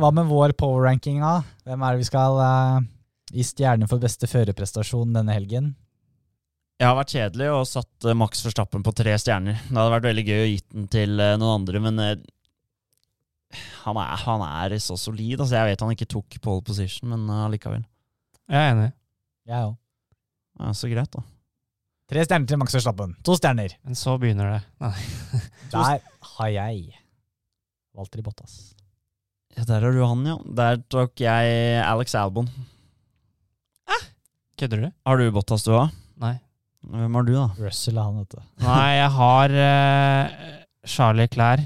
Hva med vår power-ranking, da? Hvem er det vi skal eh, gi stjerne for beste førerprestasjon denne helgen? Jeg har vært kjedelig og satt eh, Max Verstappen på tre stjerner. Det hadde vært veldig gøy å gitt den til eh, noen andre, men eh, han, er, han er så solid. Altså, jeg vet han ikke tok pole position, men eh, allikevel. Jeg er enig. Jeg òg. Ja, så greit, da. Tre stjerner til Max Verstappen. To stjerner. Men så begynner det. Nei. Der har jeg Valtteri Bottas. Ja, der har du han, ja. Der tok jeg Alex Albon. Kødder du? Har du Bottas, du òg? Nei. Hvem har du, da? Russell er han, vet du. Nei, jeg har eh, Charlie Klær.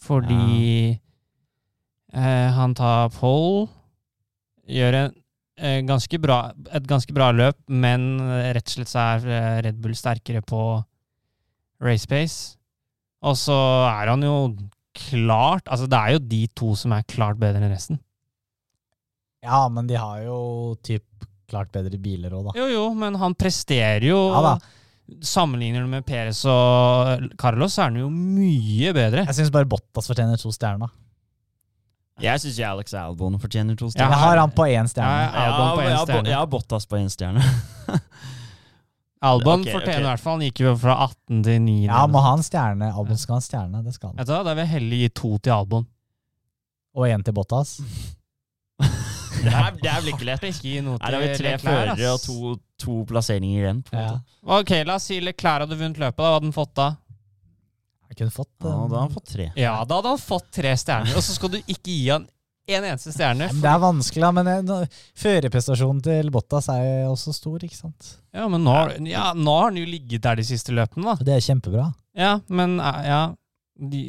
Fordi eh, han tar pole, gjør en, eh, ganske bra, et ganske bra løp, men eh, rett og slett så er eh, Red Bull sterkere på race pace. Og så er han jo klart Altså, det er jo de to som er klart bedre enn resten. Ja, men de har jo typ klart bedre biler òg, da. Jo, jo, men han presterer jo. Ja da. Sammenligner du med Perez og Carlos, så er han jo mye bedre. Jeg syns bare Bottas fortjener to stjerner. da. Jeg syns Alex Albon fortjener to Ja, stjerner. Jeg har han på én Ja, stjerne. ja. Albon på jeg, en har Bo- stjerne. jeg har Bottas på én stjerne. Albon Ok, fortjener ok. i hvert fall. Han gikk jo fra 18 til 9. Ja, må ha en stjerne. Albon skal ha en stjerne. Det skal han. Vet du hva, Da vil jeg heller gi to til Albon. Og én til Bottas. det, er, det er vel ikke lett. Ikke gi noe Her har vi til tre Leclerc, førere og ass. to, to plasseringer igjen. på en Ja. måte. Ok, la oss si Leclerc hadde vunnet løpet. Da hadde han fått da? Jeg kunne fått Ja, eh, da har han fått tre. Ja, da hadde han fått tre stjerner. Og så skal du ikke gi han en eneste stjerne. Nei, men Det er vanskelig, da, men eh, nå- førerprestasjonen til Bottas er jo også stor, ikke sant? Ja, men nå, har- ja, nå har han jo ligget der de siste løpene, da. Og Det er kjempebra. Ja, men eh, ja, de,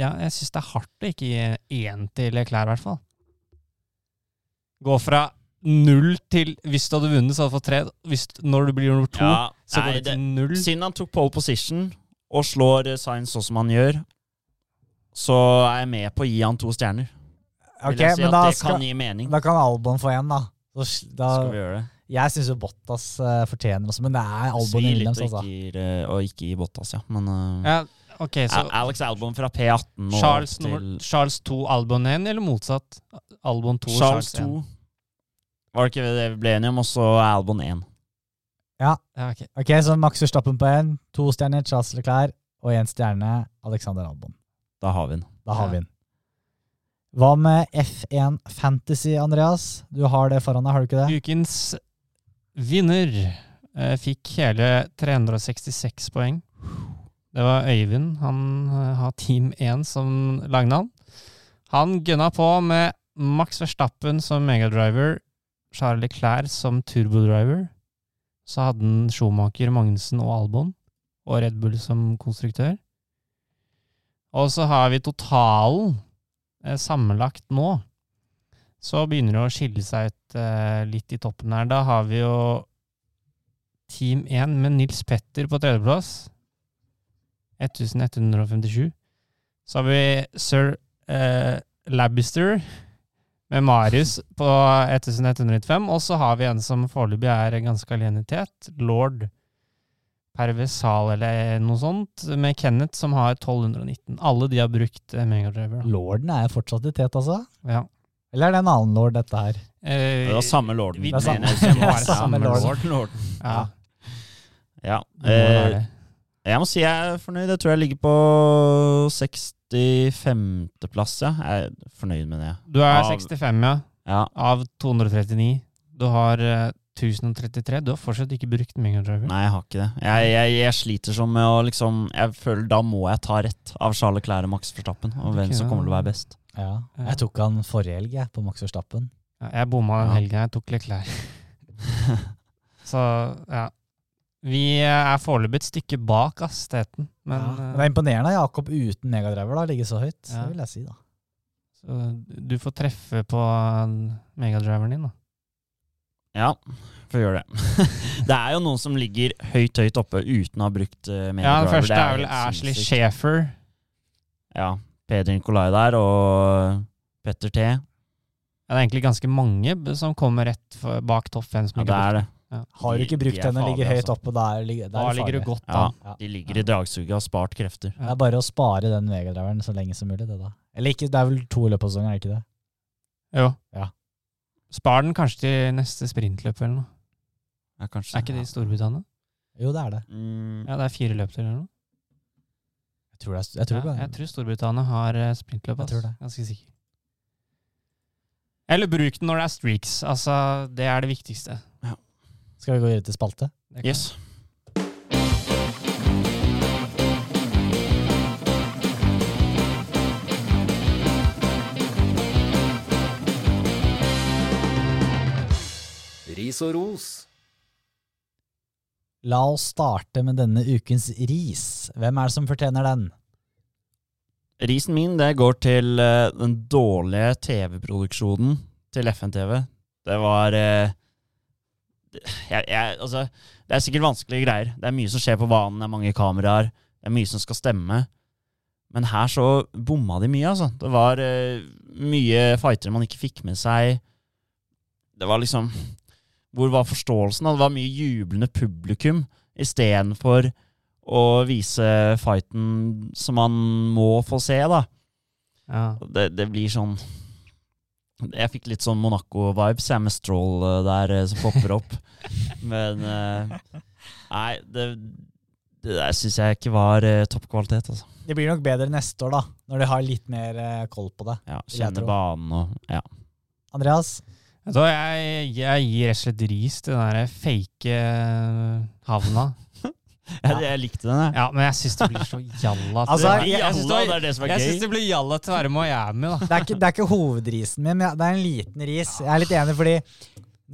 ja jeg syns det er hardt å ikke gi én til Leclerc, i hvert fall. Gå fra null til Hvis du hadde vunnet, så hadde du fått tre. Hvis, når du blir nummer to, Ja, så nei, går det det- til Mm. null. Siden han tok pole position og slår eh, Sainz sånn som han gjør, så er jeg med på å gi han to stjerner. Ok, Vil jeg si men at da, det skal, kan gi mening. da kan Albon få én, da. Så, sl- da skal vi gjøre det. jeg syns jo Bottas eh, fortjener også, men det er Albon i Svir litt Williams, å altså. ikke gi, eh, å ikke gi Bottas, ja. Men eh, Ja, ok, så Al- Alex Albon fra P18 og Charles, opp til nummer, Charles 2, Albon 1, eller motsatt? Albon 2, Charles Charles, 1. 2. Var det ikke det vi ble enige om? Og så er Albon 1. Ja, ok. Ok, så Max Verstappen på én, to stjerner Charles Leclerc og én stjerne Alexander Albon. Da har vi den. Da har Ja. vi den. Hva med F1 Fantasy, Andreas? Du har det foran deg, har du ikke det? Ukens vinner eh, fikk hele 366 poeng. Det var Øyvind. Han eh, har Team 1 som lagnavn. Han gunna på med Max Verstappen som megadriver, Charlie Clair som turbodriver. Så hadde han Schumacher, Magnussen og Albon, og Red Bull som konstruktør. Og så har vi totalen eh, sammenlagt nå så begynner det å skille seg ut eh, litt i toppen her. Da har vi jo Team 1 med Nils Petter på tredjeplass. 1157. Så har vi Sir eh, Labister med Marius på 1195. Og så har vi en som foreløpig er ganske alene i tet. Lord Pervesal eller noe sånt, med Kenneth som har 1219. Alle de har brukt eh, Megadriver. da. Lorden er fortsatt i tet, altså? Ja. Eller er det en annen lord, dette her? Eh, Det var samme lorden. Vi- Det er samme- mener jeg. det er samme Ja, lorden. lorden. ja. Ja. Det må eh, være det. jeg må si jeg er fornøyd. Jeg tror jeg ligger på 65.-plass. Ja. Jeg er fornøyd med det. Du er av- 65, ja. Ja. Av 239. Du har eh, 1033. Du har fortsatt ikke brukt Megadriver. Nei, jeg har ikke det. Jeg, jeg, jeg sliter sånn med å liksom Jeg føler da må jeg ta rett av Charles Leclerc og Max Verstappen. Og hvem Ok, som ja. kommer til å være best. Ja. Ja. Jeg tok han forrige helg, jeg, på Max Verstappen. Ja, Jeg bomma den Ja. helgen jeg tok litt klær. Så ja. Vi eh, er foreløpig et stykke bak ass, teten, men Ja. Men det eh, er imponerende av Jakob uten megadriver da, ligge så høyt. Det vil jeg si, da. så du får treffe på eh, megadriveren din, da. Ja, får gjøre det. det er jo noen som ligger høyt, høyt oppe uten å ha brukt uh, Ja, Den første er vel Ashley Schaefer. Ja. Peder Nikolai der, og Petter T. Ja, det er egentlig ganske mange b- som kommer rett for, bak topp fem. som Ja, ikke det har er det. Har du ikke De- de brukt er den og ligger farlige, høyt altså. oppe, da er, ligger- da brukt. Da er det ligger du farlig. godt an. Ja. De ligger i dragsuget og har spart krefter. Det er bare å spare den megadriveren så lenge som mulig, det da. Eller ikke, det er vel to i løpet av sesongen, er det ikke det? Jo. Ja. Spar den kanskje til neste sprintløp eller noe. Ja, kanskje. Er ikke det i Storbritannia? Jo, det er det. Mm, Ja, det er fire løp til eller noe. Jeg tror det er, jeg tror ja, det er- jeg tror Storbritannia har eh, sprintløp. Jeg ass. tror det. Ganske sikker. Eller bruk den når det er streaks. Altså, det er det viktigste. Skal vi gå videre til spalte? Det kan- Yes. Ris og ros. La oss starte med denne ukens ris. Hvem er det som fortjener den? Risen min det går til eh, den dårlige TV-produksjonen til FN-TV. Det var eh, det- jeg, jeg, altså, Det er sikkert vanskelige greier. Det er mye som skjer på banen, det er mange kameraer, det er mye som skal stemme. Men her så bomma de mye, altså. Det var eh, mye fightere man ikke fikk med seg. Det var liksom Hvor var forståelsen? da? Det var mye jublende publikum istedenfor og vise fighten som man må få se, da. Ja. Det, det blir sånn Jeg fikk litt sånn Monaco-vibes jeg, med Stroll eh, der eh, som popper opp. Men eh, Nei, det, det der syns jeg ikke var eh, toppkvalitet, altså. Det blir nok bedre neste år, da, når de har litt mer eh, koll på det. Ja, Vil jeg Kjenne tro. banen og Ja. Andreas, Vet du hva, jeg, jeg gir rett og slett ris til den der fake eh, havna. Jeg, jeg likte den, jeg. Ja, men jeg syns det blir så jalla. Altså, tverr- jeg- jeg synes Jalla, det det var- er det som er jeg gøy. synes det blir jalla tverre Miami, da. det er ikke, det er ikke hovedrisen min, men jeg- det er en liten ris. Jeg er litt enig, fordi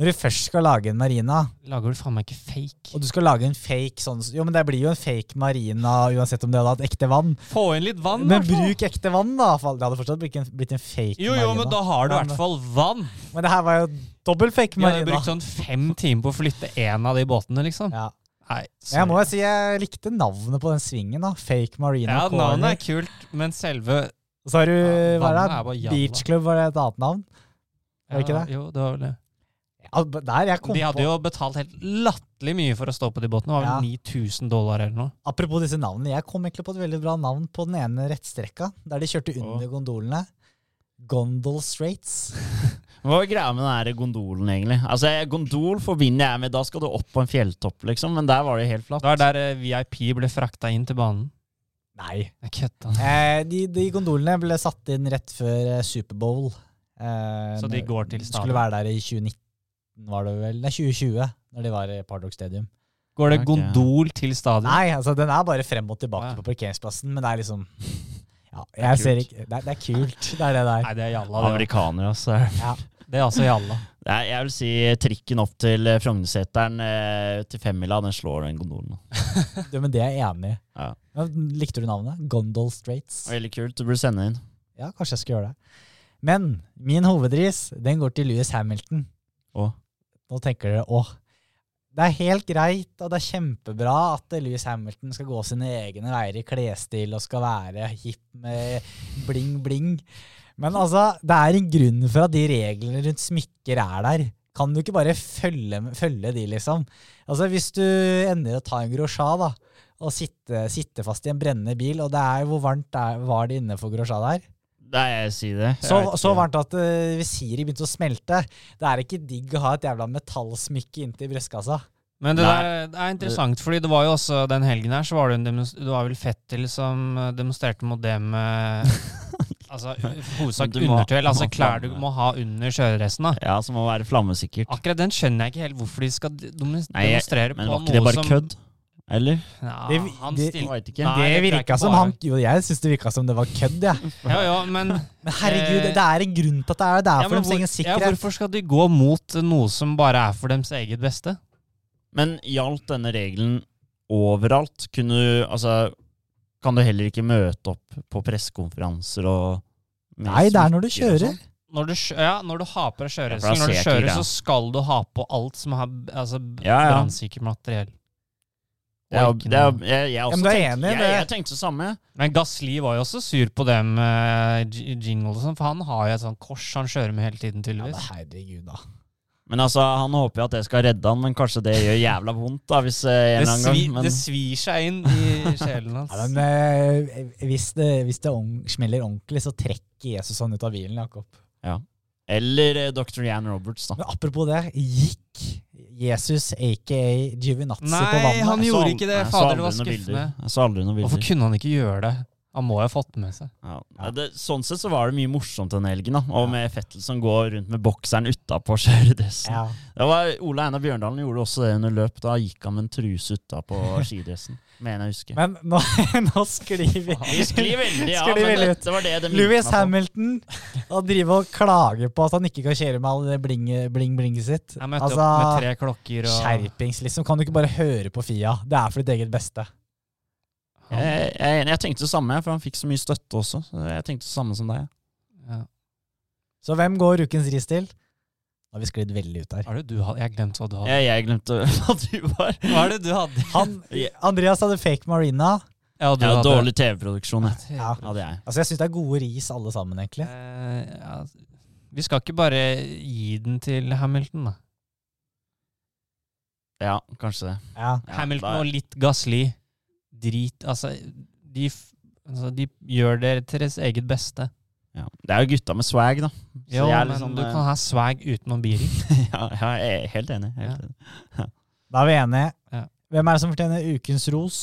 når du først skal lage en marina, Lager du faen meg ikke fake? og du skal lage en fake sånn Jo, men det blir jo en fake marina uansett om du hadde hatt ekte vann. Få inn litt vann, i Men hvert fall. bruk ekte vann, da. for Det hadde fortsatt blitt en, blitt en fake Jo, jo, marina. men da har du i Men- hvert fall vann. Men det her var jo dobbelt fake Vi hadde marina. brukt sånn fem timer på å flytte én av de båtene, liksom. Ja. Nei, Men Jeg må jo si jeg likte navnet på den svingen. da Fake Marina ja, navnet Corner. er kult, men selve Og så har du Ja, hva er vannet er bare det? jalla. Beach Club var det et annet navn. Er det ikke Ja, det? Jo, det var vel det. Ja, b- der jeg kom De hadde på jo betalt helt latterlig mye for å stå på de båtene. Det var vel 9000 dollar eller noe. Apropos disse navnene, jeg kom egentlig på et veldig bra navn på den ene rettstrekka, der de kjørte under gondolene. Gondol Straits. Hva er greia med den her gondolen, egentlig? Altså, jeg- Gondol forbinder jeg med Da skal du opp på en fjelltopp, liksom, men der var det helt flatt. Det var der eh, VIP ble frakta inn til banen. Nei. Jeg kødda. Eh, de, de gondolene ble satt inn rett før eh, Superbowl. Eh, Så de når- går til Skulle stadion. være der i 2019, var det vel? Nei, 2020, når de var i Pardock Stadium. Går det Ok. gondol til stadion? Nei, altså den er bare frem og tilbake Å, ja. på parkeringsplassen, men det er liksom ja, jeg ser ikke, det, er, det er kult, det er det der. Nei, det er jalla. Det, Amerikanere, altså. også. det er altså jalla. Det er- Jeg vil si trikken opp til eh, Frognerseteren eh, til femmila, den slår den gondolen. Du, men det er jeg enig i. Ja. Men Likte du navnet? Gondol Straits. Veldig kult. Du burde sende inn. Ja, kanskje jeg skal gjøre det. Men min hovedris, den går til Lewis Hamilton. Å. Nå tenker dere åh. Det er helt greit, og det er kjempebra at Lewis Hamilton skal gå sine egne veier i klesstil og skal være hipp med bling-bling. Men altså, det er en grunn for at de reglene rundt smykker er der. Kan du ikke bare følge, følge de, liksom? Altså, hvis du ender å ta en Grosja, da, og sitte, sitte fast i en brennende bil, og det er jo hvor varmt det er, var det innenfor Grosja der? Nei, jeg sier det. Jeg Så, vet så ikke. varmt at eh, visiri begynte å smelte. Det er ikke digg å ha et jævla metallsmykke inntil brystkassa. Men det, Nei. der, det er interessant, fordi det var jo også den helgen her, så var det, en demonst- det var vel Fettel som eh, demonstrerte mot det med Altså, hovedsak Du må- undertøy, altså må klær du flamme. må ha under kjøreresten. da. Ja, som må være flammesikkert. Akkurat den skjønner jeg ikke helt hvorfor de skal de- dom- Nei, jeg- demonstrere Men på var ikke det noe bare som kødd? Eller? Ja, Det- han det- Jeg stilte vet ikke. Nei, det det tror jeg virka ikke som bare. han Jo, jeg syns det virka som det var kødd, jeg. Jo, jo, men, Men herregud, det er en grunn til at det er det. Eh, ja, er for men deres hvor, egen ja, sikkerhet. hvorfor skal de gå mot noe som bare er for deres eget beste? Men gjaldt denne regelen overalt? Kunne du Altså, kan du heller ikke møte opp på pressekonferanser og Nei, det er når du kjører. sånn? Når du, skjø- ja, når du har på deg Ja, for da kjøreresten, når ser du jeg ikke kjører, greia. så skal du ha på alt som har altså, b- Ja, ja. brannsikkert materiell. Det er, jo- Og ikke det er, noe- jo- jeg, jeg, også men du er tenkte- enig i jeg, jeg det. tenkte det samme. Men Gasli var jo også sur på det med j- jingle og sånn, for han har jo et sånt kors han kjører med hele tiden, Ja, men tydeligvis. herregud, da. Men altså, Han håper jo at det skal redde han, men kanskje det gjør jævla vondt da, hvis eh, en det, eller annen svi, gang. Men det svir seg inn i sjelen hans. Ja, men, eh, hvis det, hvis det ong- smeller ordentlig, så trekker Jesus han ut av bilen, Jakob. Eller eh, Dr. Jan Roberts, da. Men apropos det, gikk Jesus aka Giovinazzi på Nei, vannet? han Jeg så gjorde aldri- Nei, ikke det! jeg så Fader, det var aldri noen bilder. skuffende. Jeg så aldri noen Hvorfor bilder. kunne han ikke gjøre det? Han må jo ha fått det med seg. Ja. Nei, Det, sånn sett så var det mye morsomt denne helgen, da. og med Fettel som går rundt med bokseren utapå og kjører dressen. Ja. Det var Ole Einar Bjørndalen gjorde også det under løp. Da gikk han med en truse utapå skidressen, mener jeg å huske. Men nå, nå sklir vi Vi sklir veldig, ja, Sklir men veldig det, ut. det var det de Lewis minnet meg på. Hamilton å drive og klage på at han ikke kan kjøre med all det bling- bling-blinget sitt. Jeg Altså, møtte opp med tre klokker og skjerpings, liksom. Kan du ikke bare høre på Fia? Det er for ditt eget beste. Jeg, jeg, er enig. jeg tenkte det samme, for han fikk så mye støtte også. Så jeg tenkte det samme som deg. Ja. Så hvem går ukens ris til? Nå har vi sklidd veldig ut her. Hva er det du hadde? Jeg glemte hva du hadde. Jeg, jeg glemte hva du var. Hva er det du hadde? Han, Andreas hadde fake Marina. Ja, du Jeg hadde- hadde dårlig TV-produksjon, jeg. Ja. Hadde jeg. Altså, jeg syns det er gode ris alle sammen, egentlig. Eh, ja. Vi skal ikke bare gi den til Hamilton, da. Ja, kanskje det. Ja. Ja, Hamilton da- og litt Gasli. Drit Altså, de, f- altså, de gjør det til deres eget beste. Ja. Det er jo gutta med swag, da. Så Jo, jeg er men litt sånn, du eh, kan ha swag utenom bilen. ja, ja, jeg er helt enig. Helt Ja. enig. Da er vi enige. Ja. Hvem er det som fortjener ukens ros?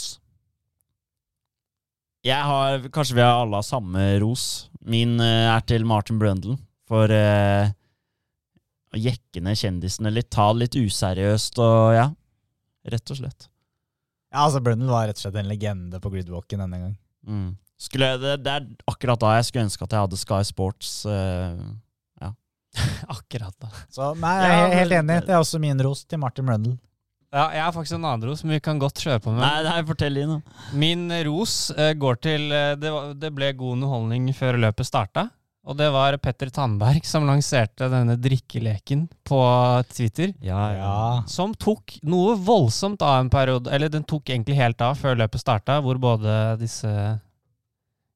Jeg har, kanskje vi har alle har samme ros. Min eh, er til Martin Brundle for eh, å jekke ned kjendisene litt, ta det litt useriøst og ja, rett og slett. Ja, altså Brundle var rett og slett en legende på gridwalken denne gang. Mm. Skulle jeg, det, det er akkurat da jeg skulle ønske at jeg hadde Sky Sports. eh, Akkurat da. Så nei, Ja, jeg er he- helt men- enig. Det er også min ros til Martin Brundle. Ja, jeg har faktisk en annen ros, men vi kan godt kjøre på med. nei, nei, fortell Lina. Min ros eh, går til eh, det, var, det ble god underholdning før løpet starta. Og det var Petter Tandberg som lanserte denne drikkeleken på Twitter. Ja, Ja. Som tok noe voldsomt av en periode Eller den tok egentlig helt av før løpet starta, hvor både disse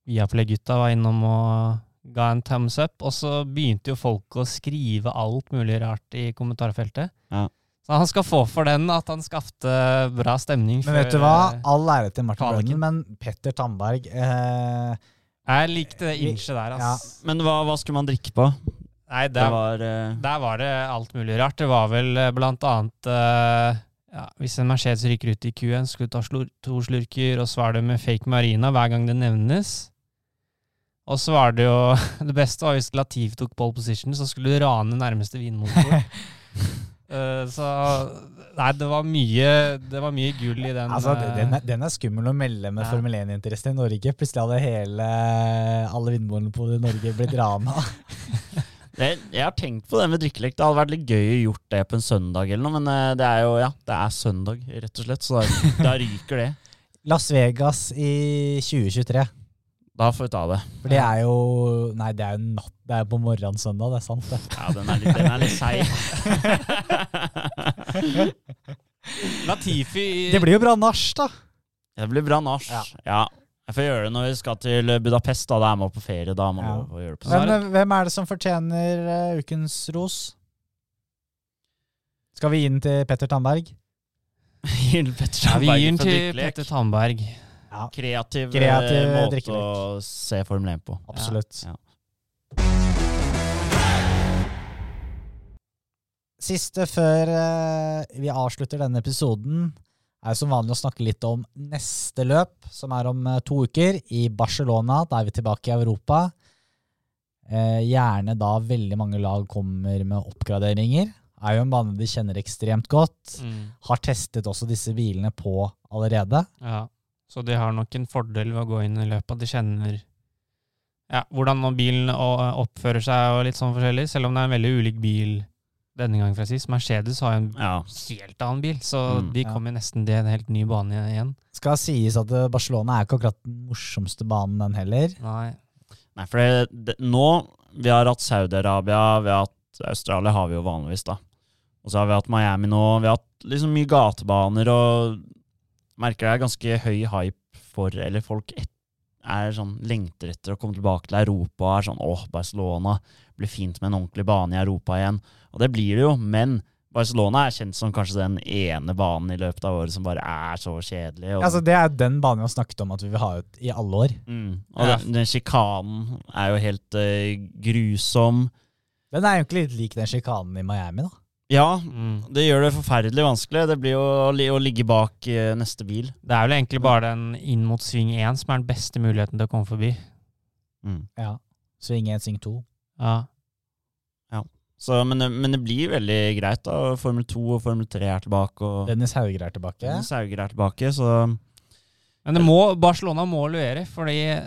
Viaplay-gutta var innom og ga en thumbs up. Og så begynte jo folk å skrive alt mulig rart i kommentarfeltet. Ja. Så han skal få for den at han skapte bra stemning. Men vet du før, hva? eh, All ære til Martin Kvaliken. Brundle, men Petter Tandberg eh, Jeg likte det innsjet der, ass. Men hva, hva skulle man drikke på? Nei, Det der, var eh, der var det alt mulig rart. Det var vel eh, blant annet eh, ja, Hvis en Mercedes ryker ut i Q1, skulle du ta slur to slurker, og så var det med fake marina hver gang det nevnes. Og så var det jo Det beste var hvis Lativ tok pole position, så skulle du rane nærmeste vinmonopol. Eh, så Nei, det var mye Det var mye gull i den. altså, eh, den, er, den er skummel å melde med Ja. Formel 1-interesse i Norge. Plutselig hadde hele, alle vindmonopolet i Norge blitt rana. det, Jeg har tenkt på det med drikkelek. Det hadde vært litt gøy å gjort det på en søndag eller noe, men eh, det er jo ja, det er søndag, rett og slett, så da, da ryker det. Las Vegas i 2023. Da får vi ta det. For det er jo Nei, det er jo natt. Det er jo på morgenen søndag, det er sant, det. Ja, den er litt, den er litt seig. Latifi Det blir jo bra nach, da. Det blir bra nach. Ja. Ja. Jeg får gjøre det når vi skal til Budapest, da. Da er man på ferie. Da har man Ja. lov å gjøre det på Men sånn. eh, hvem er det som fortjener eh, ukens ros? Skal vi gi den til Petter Tandberg? Gir Petter ja, Vi Tandberg gir den for til drikkelek. Petter Tandberg. Kreativ, eh, Kreativ måte drikkelek. å se Formel 1 på. Absolutt. Ja. Siste før eh, vi avslutter denne episoden, er som vanlig å snakke litt om neste løp, som er om eh, to uker, i Barcelona. Da er vi tilbake i Europa. Eh, gjerne da veldig mange lag kommer med oppgraderinger. Er jo en bane de kjenner ekstremt godt. Har testet også disse bilene på allerede. Ja, så de har nok en fordel ved å gå inn i løpet. at De kjenner ja, hvordan nå bilen å- oppfører seg og litt sånn forskjellig, selv om det er en veldig ulik bil denne gangen fra sist. Mercedes har jo en ja. helt annen bil, så Mm. de Ja. kommer nesten til en helt ny bane igjen. Skal sies at eh, Barcelona er ikke akkurat den morsomste banen, den heller. Nei. Nei, for det, det, nå Vi har hatt Saudi-Arabia, vi har hatt Australia, har vi jo vanligvis, da. Og så har vi hatt Miami nå. Vi har hatt liksom mye gatebaner og merker det er ganske høy hype for Eller folk et, er sånn lengter etter å komme tilbake til Europa. Er sånn åh, Barcelona. Blir fint med en ordentlig bane i Europa igjen. Og det blir det jo, men Barcelona er kjent som kanskje den ene banen i løpet av året som bare er så kjedelig. Og, Altså, det er den banen vi har snakket om at vi vil ha ut i alle år. mm, og Ja. den, den sjikanen er jo helt eh, grusom. Den er jo egentlig litt lik den sjikanen i Miami, da. Ja, Mm. det gjør det forferdelig vanskelig. Det blir jo å li- å ligge bak eh, neste bil. Det er vel egentlig bare den inn mot sving 1 som er den beste muligheten til å komme forbi. Mm. Ja. Sving 1, sving 2. Ja. Så, men, det- men det blir veldig greit. da. Formel 2 og Formel 3 er tilbake, og Dennis Hauger er tilbake. Dennis Hauger er tilbake, så Men det må, Barcelona må levere, fordi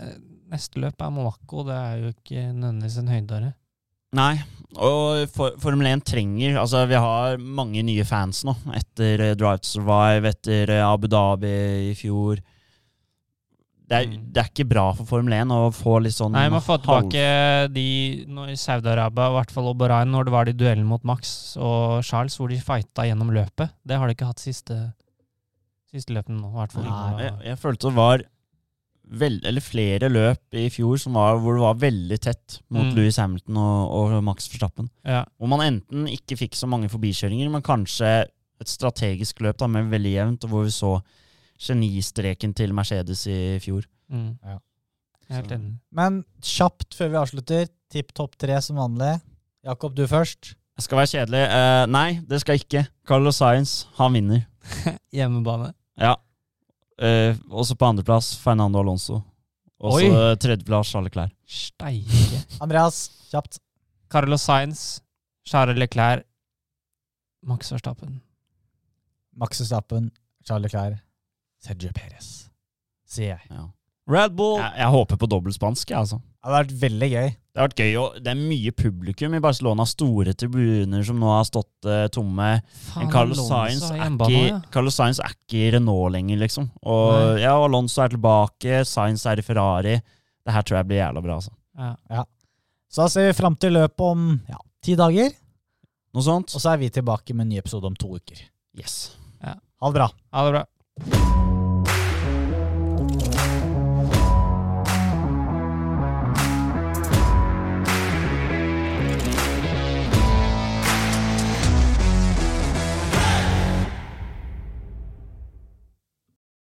neste løp er Monaco. Det er jo ikke nødvendigvis en høydare. Nei. Og for, Formel 1 trenger Altså, vi har mange nye fans nå. Etter eh, Drive to Survive, etter eh, Abu Dhabi i fjor. Det er, Mm. det er ikke bra for Formel 1 å få litt sånn Nei, man får halv- tilbake de når Saudi-Arabia, i hvert fall Oberain, når det var de duellen mot Max og Charles, hvor de fighta gjennom løpet. Det har de ikke hatt siste, siste løpene nå, i hvert fall. Nei. ikke Jeg, nå. jeg følte det var vel, eller flere løp i fjor som var, hvor det var veldig tett mot Mm. Louis Hamilton og, og Max Verstappen. Ja. Hvor man enten ikke fikk så mange forbikjøringer, men kanskje et strategisk løp da, med veldig jevnt, og hvor vi så genistreken til Mercedes i fjor. Mm. Jeg er helt enig. Men kjapt før vi avslutter, tipp topp tre som vanlig. Jakob, du først. Jeg skal være kjedelig. Eh, nei, det skal jeg ikke. Carlos Sainz, han vinner. Hjemmebane. Ja. Eh, også på andreplass Fernando Alonso. Og Oi. så eh, tredjeplass Charles Leclerc. Steike. Andreas, kjapt. Carlos Sainz, Charles Leclerc, Max Verstappen. Max Verstappen, Charlie Clair, Sergio Perez, sier jeg. Ja. Red Bull. Jeg, jeg håper på dobbelt spansk, jeg, altså. Det hadde vært veldig gøy. Det har vært gøy, og det er mye publikum i Barcelona. Store tribuner som nå har stått eh, tomme. Faen, Men Carlos Alonso Sainz, har er hjemmebane, ikke, ja. Carlos Sainz er ikke i Renault lenger, liksom. Og, Nei. ja, og Alonso er tilbake, Sainz er i Ferrari. Det her tror jeg blir jævla bra. altså. Ja. Så da ser vi fram til løpet om ja, ti dager, Noe sånt? og så er vi tilbake med en ny episode om to uker. Yes. Ha det bra. Ha det bra.